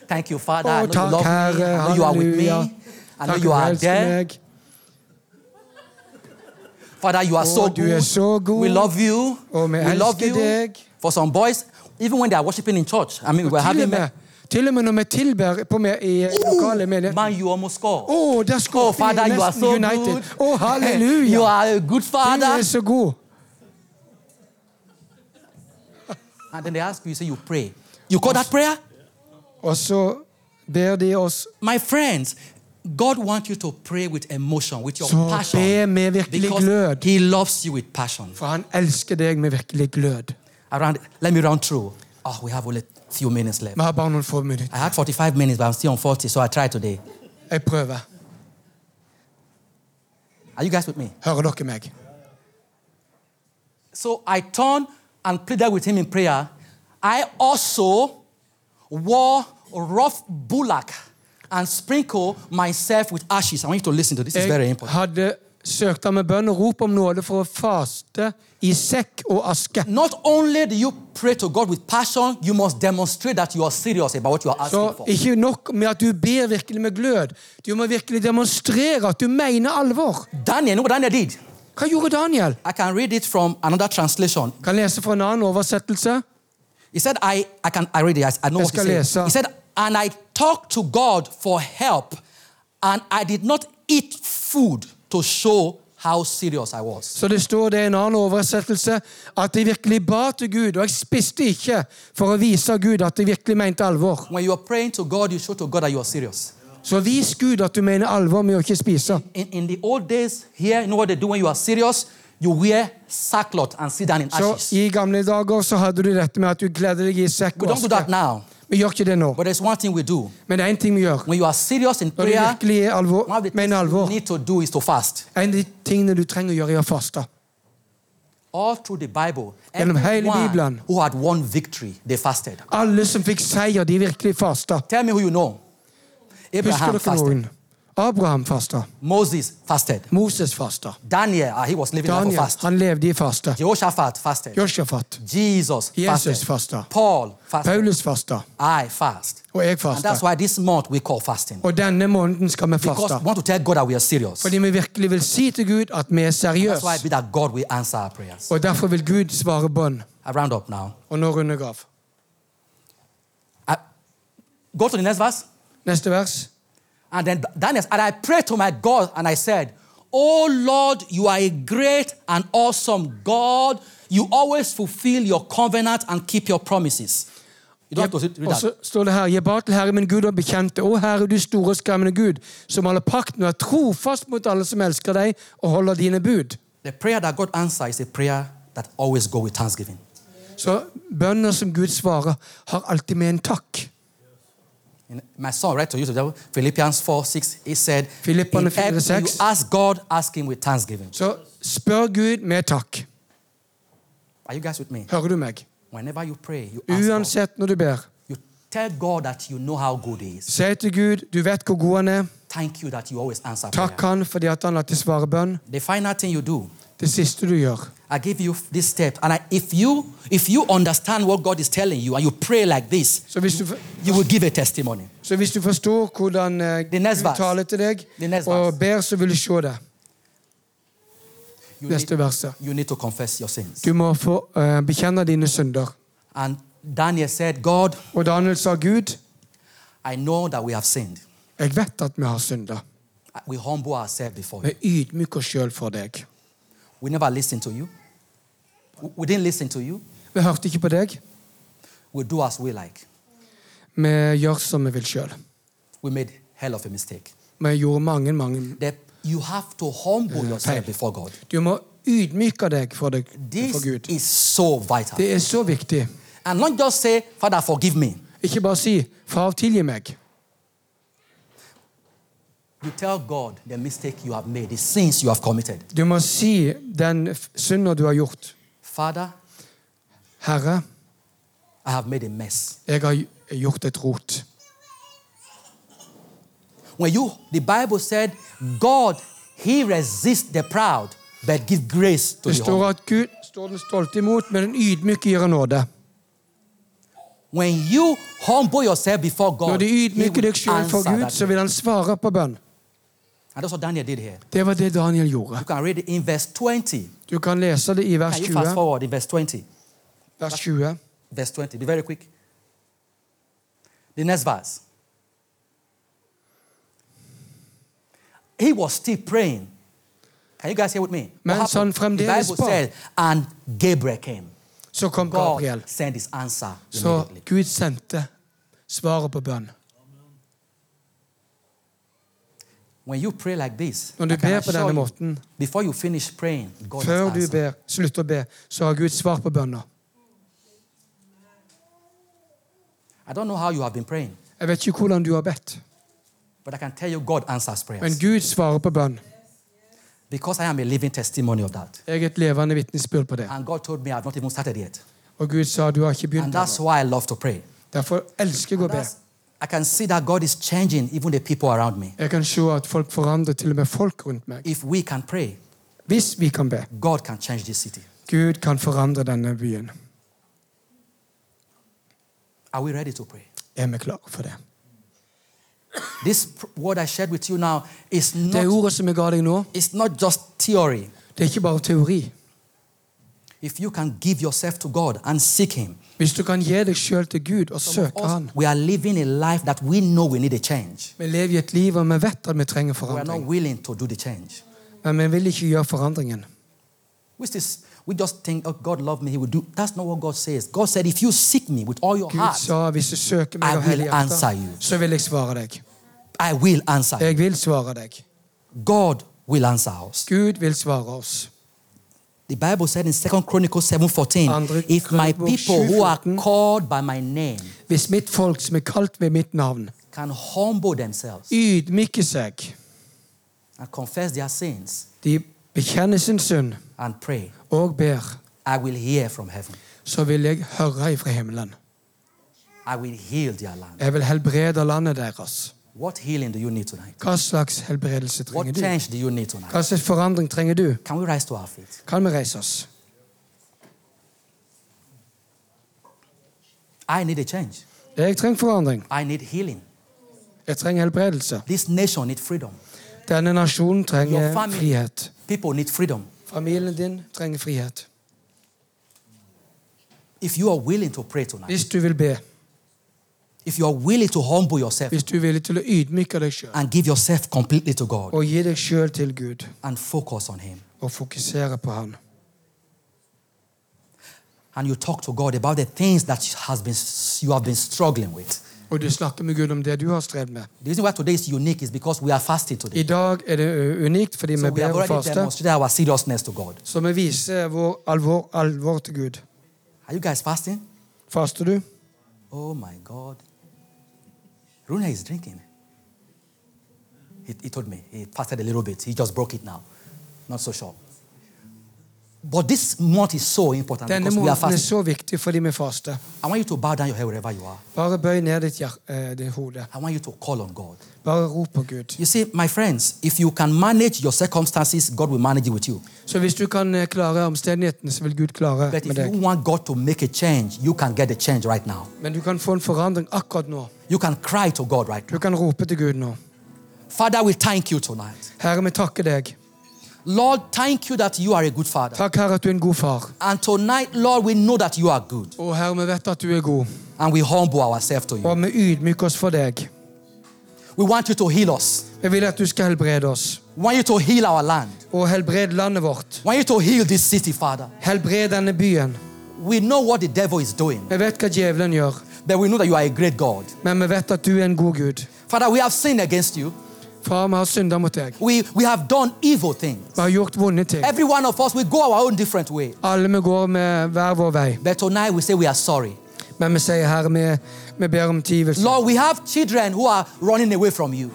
S2: Thank you, Father. I know
S3: Å,
S2: you
S3: takk,
S2: love me.
S3: Herre.
S2: I know you are with me.
S3: Halleluja.
S2: I know
S3: Takk,
S2: you
S3: du
S2: are
S3: elsker
S2: there.
S3: meg.
S2: Father, Oh, you are so
S3: Å, du er
S2: good. Oh,
S3: så god.
S2: We love you.
S3: Å, vi
S2: we love
S3: elsker
S2: you.
S3: deg.
S2: For some boys, even when they are worshiping in church, I mean, we're
S3: Til
S2: having
S3: og med, til og med når vi tilber på med, i
S2: Oh!
S3: lokale menigheter.
S2: man, you almost score.
S3: Å, der
S2: Oh,
S3: skåret
S2: Father, you are
S3: nesten
S2: so
S3: United.
S2: good.
S3: Å, halleluja.
S2: you are a good
S3: Du
S2: Father.
S3: er så god.
S2: And then they ask you, you say, you pray. You call that prayer?
S3: Og så ber de oss
S2: My friends, God wants you to pray with emotion, with your
S3: Så
S2: passion.
S3: be med virkelig
S2: because
S3: glød.
S2: He loves you with passion.
S3: For han elsker deg med virkelig glød.
S2: Around, let me run through. Oh, we have only a few minutes left.
S3: Vi har bare noen få minutter.
S2: I had 45 minutes, but I'm still on 40, so I try today.
S3: Jeg prøver.
S2: Are you guys with me?
S3: Hører dere meg?
S2: So I turned and pleaded with him in prayer. I also wore rough bullock and sprinkled myself with ashes. I want you to listen to this. It's very
S3: Jeg
S2: important.
S3: hadde søkt ham med bønn og rop om nåde for å faste i sekk og aske.
S2: Not only do you pray to God with passion, you must demonstrate that you are serious about what you are
S3: Så
S2: asking for.
S3: ikke nok med at du ber virkelig med glød. Du må virkelig demonstrere at du mener alvor.
S2: Daniel, you know what Daniel did?
S3: Hva gjorde Daniel?
S2: I can read it from another translation.
S3: Kan lese fra en annen oversettelse.
S2: He said, I, I can I read it. I, I know
S3: Jeg
S2: what he
S3: skal lese.
S2: said. He said, and I talked to God for help, and I did not eat food to show how serious I was.
S3: Så det står det i en annen oversettelse at de virkelig ba til Gud, og jeg spiste ikke for å vise Gud at jeg virkelig mente alvor.
S2: When you are praying to God, you show to God that you are serious.
S3: Så vis Gud at du mener alvor med å ikke spise.
S2: In, in the old days, here, you know what they do when you are serious? You wear sackcloth and sit down in
S3: Så
S2: ashes.
S3: I gamle dager så hadde du dette med at du kledde deg i sekk
S2: We
S3: og
S2: don't do that
S3: aske.
S2: now.
S3: Vi gjør ikke det nå.
S2: But there's one thing we do.
S3: Men det er én ting vi gjør.
S2: When you are serious in
S3: Når du
S2: prayer,
S3: virkelig er alvor,
S2: one of the things
S3: mener
S2: you
S3: alvor,
S2: need to do is to fast.
S3: en av de tingene du trenger å gjøre, er å faste.
S2: All through the Bible,
S3: Genom hele
S2: everyone
S3: Bibelen.
S2: who had won victory, they fasted.
S3: Alle som fikk seier, de virkelig fasta.
S2: Tell me who you know. Abraham
S3: Husker dere
S2: fasted.
S3: noen? Abraham fasta.
S2: Moses fasted.
S3: Moses fasta.
S2: Daniel, ah, he was living life of
S3: Daniel,
S2: fast.
S3: han levde i faste.
S2: Jehoshaphat fasted.
S3: Josjafat.
S2: Jesus,
S3: Jesus
S2: fasted.
S3: fasted.
S2: Paul fasted.
S3: Paulus fasta.
S2: I fast.
S3: Og jeg
S2: And that's
S3: faster. Oh,
S2: why this month we call fasting.
S3: Og denne måneden skal vi
S2: Because
S3: faste.
S2: we want to tell God that we are serious.
S3: Fordi vi virkelig vil si til Gud at vi er
S2: That's why it
S3: seriøse.
S2: be that God will answer our prayers.
S3: Og derfor vil Gud svare bønn.
S2: I round up now.
S3: Og nå runder jeg av.
S2: I- go to the next verse.
S3: Neste vers.
S2: And then Daniel, and I prayed to my God and I said, Oh Lord, you are a great and awesome God. You always fulfill your covenant and keep your promises. You don't have to read
S3: Og så
S2: that.
S3: står det her Gi bar til Herre min Gud og bekjente. Å Herre, du store og skremmende Gud, som holder pakten og er trofast mot alle som elsker deg og holder dine bud.
S2: The prayer that God answers is a prayer that always go with thanksgiving.
S3: Så bønner som Gud svarer, har alltid med en takk.
S2: In- my son read to you today, Philippians 4 6, he said,
S3: Filipperne
S2: "In
S3: 4,
S2: everything
S3: 6.
S2: You ask God, ask Him with thanksgiving.
S3: Så spør Gud med takk.
S2: Are you guys with me?
S3: Hører du meg?
S2: Whenever you pray, you ask God.
S3: Uansett når du ber,
S2: You tell God that you know how good He is.
S3: si til Gud du vet hvor god han er.
S2: Thank you that you always answer
S3: Takk
S2: prayer.
S3: han fordi at han alltid svarer bønn.
S2: The final thing you do,
S3: Det siste du gjør.
S2: I give you this step, and I, if you if you understand what God is telling you and you pray like this,
S3: Så hvis du, for-
S2: you will give a testimony.
S3: så hvis du forstår hvordan eh,
S2: The next
S3: Gud
S2: verse.
S3: taler til deg
S2: The next
S3: og
S2: verse.
S3: ber, så vil du se det.
S2: You
S3: Neste
S2: need,
S3: verset.
S2: you need to confess your sins.
S3: Du må få eh, bekjenne dine synder.
S2: And Daniel said, God,
S3: Og Daniel sa, Gud,
S2: I know that we have sinned.
S3: jeg vet at vi har synder.
S2: We humble ourselves before you.
S3: Vi ydmyker oss sjøl for deg.
S2: We never listened to you. We- We didn't listen to you.
S3: Vi hørte ikke på deg.
S2: We do as we like.
S3: Vi gjør som vi vil sjøl.
S2: We made hell of a mistake.
S3: Vi gjorde mange, mange
S2: That you have to humble yourself
S3: fail.
S2: before God.
S3: Du må ydmyke deg for, deg,
S2: This
S3: for Gud.
S2: is so vital.
S3: Det er så viktig.
S2: and not just say, Father, forgive me.
S3: Ikke bare si 'Far, tilgi meg'.
S2: You tell God the mistake you have made, the sins you have committed.
S3: Du må si den f- synda du har gjort.
S2: Father,
S3: 'Herre,
S2: I have made a mess.
S3: jeg har gjort et rot'.
S2: When you, the Bible said, God, He resists the proud, but give grace to
S3: Det
S2: the humble.
S3: står at Gud står den stolte imot, men den ydmyke gir han nåde.
S2: When you humble yourself before
S3: Når
S2: God,
S3: du
S2: He
S3: ydmyker
S2: will
S3: deg sjøl for
S2: answer
S3: Gud,
S2: that
S3: så vil han svare på bønn.
S2: And that's what Daniel did here.
S3: Det var det Daniel gjorde.
S2: You can read it in verse 20.
S3: Du kan lese det i vers
S2: Can you fast
S3: 20.
S2: forward in verse 20?
S3: Vers 20.
S2: Verse 20. Be very quick. The next verse. He was still praying. Can you guys hear with me? What
S3: Mens han
S2: happened? The
S3: fremdeles
S2: Bible
S3: ba.
S2: said, and Gabriel came.
S3: Så kom
S2: God
S3: Gabriel.
S2: sent his answer
S3: Så
S2: immediately.
S3: Gud sendte svaret på bønn.
S2: When you pray like this,
S3: Når du
S2: I can
S3: ber på
S2: assure
S3: denne
S2: you,
S3: måten,
S2: before you finish praying, God has
S3: før du
S2: answered.
S3: ber, slutter å be, så har Gud svar på bønna.
S2: I don't know how you have been praying,
S3: Jeg vet ikke hvordan du har bedt,
S2: but I can tell you God answers prayers.
S3: men Gud svarer på bønn.
S2: because I am a living testimony of that.
S3: Jeg er et levende vitnesbyrd på det.
S2: And God told me I've not even started yet.
S3: Og Gud sa du har ikke
S2: And
S3: begynt
S2: that's
S3: ennå.
S2: why I love to pray.
S3: Derfor elsker jeg å be.
S2: That's- I can see that God is changing even the people around me.
S3: Jeg kan se at folk forandrer til og med folk rundt meg.
S2: If we can pray,
S3: Hvis vi kan be.
S2: God can change this city.
S3: Gud kan forandre denne byen.
S2: Are we ready to pray?
S3: Er vi klare for det?
S2: This pr- word I shared with you now is
S3: Det
S2: not,
S3: ordet som jeg ga deg nå,
S2: it's not just theory.
S3: det er ikke bare teori.
S2: If you can give yourself to God and seek Him,
S3: Hvis du kan gi deg sjøl til Gud og
S2: some of
S3: søke
S2: us,
S3: Han
S2: we are living a life that we know we need a change.
S3: Vi lever i et liv og vi vet at vi trenger
S2: We are not
S3: forandring,
S2: willing to do the change.
S3: men vi vil ikke gjøre forandringen.
S2: Which is, we just think, oh, God loved me, He will do. That's not what God says. God said, if you seek me with all your
S3: Gud
S2: heart,
S3: sa hvis du søker meg
S2: I
S3: av hele
S2: will answer you.
S3: hjertet, så vil jeg svare deg.
S2: I will answer. you."
S3: Jeg vil svare deg.
S2: God will answer us.
S3: Gud vil svare oss.
S2: The Bible said in 2 Chronicles 7:14,
S3: Andre
S2: if my
S3: Krønikebok
S2: people who are
S3: 7:14.
S2: called by my name
S3: Hvis mitt folk som er kalt ved mitt navn,
S2: can humble themselves
S3: ydmyker seg,
S2: and confess their sins
S3: de bekjenner sin synd
S2: and pray,
S3: og ber,
S2: I will hear from heaven.
S3: så vil jeg høre ifra himmelen.
S2: I will heal their land.
S3: Jeg vil helbrede landet deres.
S2: What healing do you need tonight?
S3: Hva slags helbredelse
S2: What
S3: trenger du?
S2: change do you need tonight?
S3: Hva slags forandring trenger du?
S2: Can we rise to our feet?
S3: Kan vi reise oss?
S2: I need a change.
S3: Jeg trenger forandring.
S2: I need healing.
S3: Jeg trenger helbredelse.
S2: This nation needs freedom.
S3: Denne nasjonen
S2: Your
S3: trenger
S2: family.
S3: frihet.
S2: People need freedom.
S3: Familien din trenger frihet.
S2: If you are willing to pray tonight,
S3: Hvis du vil be,
S2: If you are willing to humble yourself
S3: Hvis du er villig til å ydmyke deg sjøl
S2: and give yourself completely to God
S3: og gi deg sjøl til Gud
S2: and focus on Him,
S3: og fokusere på Han,
S2: and you talk to God about the things that has been, you have been struggling with.
S3: og du snakker med Gud om det du har strevd med
S2: The reason why today is unique is because we are fasting today.
S3: I dag er det ø, unikt fordi
S2: So
S3: vi
S2: we
S3: ber
S2: have
S3: og
S2: already
S3: faster,
S2: demonstrated our seriousness to God.
S3: så vi viser vår alvor, alvor til Gud.
S2: Are you guys fasting?
S3: Faster du?
S2: Oh my God. Runa is drinking. He, he told me. He fasted a little bit. He just broke it now. Not so sure. But this month is so important
S3: Denne
S2: because we are
S3: måneden er
S2: fasting.
S3: så viktig fordi vi faster.
S2: I want you to bow down your head wherever you are.
S3: Bare bøy ned ditt, hjer- eh, ditt hode.
S2: I want you to call on God.
S3: Bare rop på Gud.
S2: You see, my friends, if you can manage your circumstances, God will manage it with you.
S3: Så hvis du kan eh, klare omstendighetene, så vil Gud klare
S2: But
S3: med
S2: if you
S3: deg.
S2: want God to make a change, you can get a change right now.
S3: Men du kan få en forandring akkurat nå.
S2: You can cry to God right
S3: Du kan rope til Gud nå.
S2: now. Father, we thank you tonight.
S3: Herre, vi takker deg.
S2: Lord, thank you that you are a good father.
S3: Takk, Herre, at du er en god far.
S2: And tonight, Lord, we know that you are good.
S3: Og Herre, vi vet at du er god,
S2: And we humble ourselves to you.
S3: og vi ydmyker oss for deg.
S2: We want you to heal us.
S3: Vi vil at du skal helbrede oss,
S2: We want you to heal our land.
S3: og helbrede landet vårt.
S2: We want you to heal this city, Father.
S3: Helbred denne byen.
S2: We know what the devil is doing,
S3: Vi vet hva djevelen gjør,
S2: but we know that you are a great God.
S3: men vi vet at du er en god Gud.
S2: Father, we have sinned against you.
S3: Far, vi har synda mot deg.
S2: We, we have done evil things.
S3: Vi har gjort vonde ting.
S2: Every one of us, we go our own different way.
S3: Alle vi går med hver vår vei,
S2: But tonight we say we are sorry.
S3: men vi sier Herre, vi, vi ber om tilgivelse.
S2: Lord, we have children who are running away from you.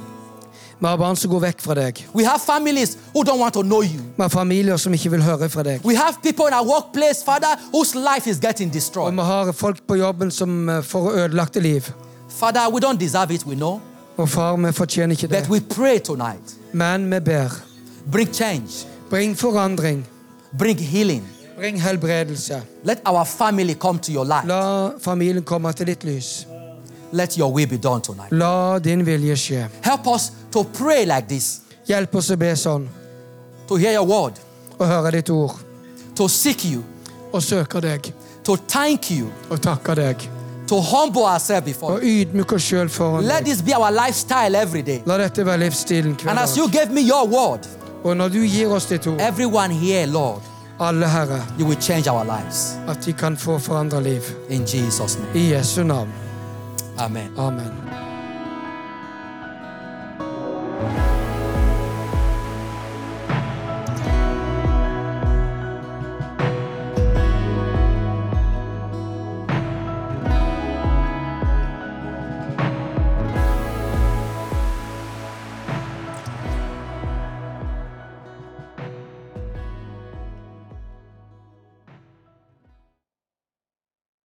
S3: Vi har barn som går vekk fra deg.
S2: We have families who don't want to know you.
S3: Vi har familier som ikke vil høre fra deg.
S2: We have people in our workplace, Father, whose life is getting
S3: Og
S2: destroyed.
S3: vi har folk på jobben som eh, får ødelagte liv.
S2: Father, we don't deserve it, we know.
S3: Og far, vi fortjener ikke det.
S2: But we pray tonight.
S3: Men vi ber.
S2: Bring change,
S3: Bring forandring.
S2: bring healing.
S3: Bring helbredelse.
S2: Let our family come to your life.
S3: La familien komme til ditt lys.
S2: Let your will be done tonight.
S3: La din vilje skje.
S2: Help us to pray like this,
S3: Hjelp oss å be sånn,
S2: to hear your word,
S3: og høre ditt ord.
S2: to seek you,
S3: Og søker deg,
S2: to thank you,
S3: og takker deg.
S2: to humble ourselves before you.
S3: Og ydmyk oss sjøl foran
S2: Let
S3: deg.
S2: this be our lifestyle every day.
S3: La dette være livsstilen
S2: And
S3: hver
S2: as you
S3: dag.
S2: gave me your word,
S3: Og når du gir oss ditt ord,
S2: everyone here, Lord,
S3: alle Herre,
S2: you will change our lives.
S3: at de kan få forandra liv.
S2: In Jesus' name.
S3: I Jesu navn.
S2: Amen.
S3: Amen.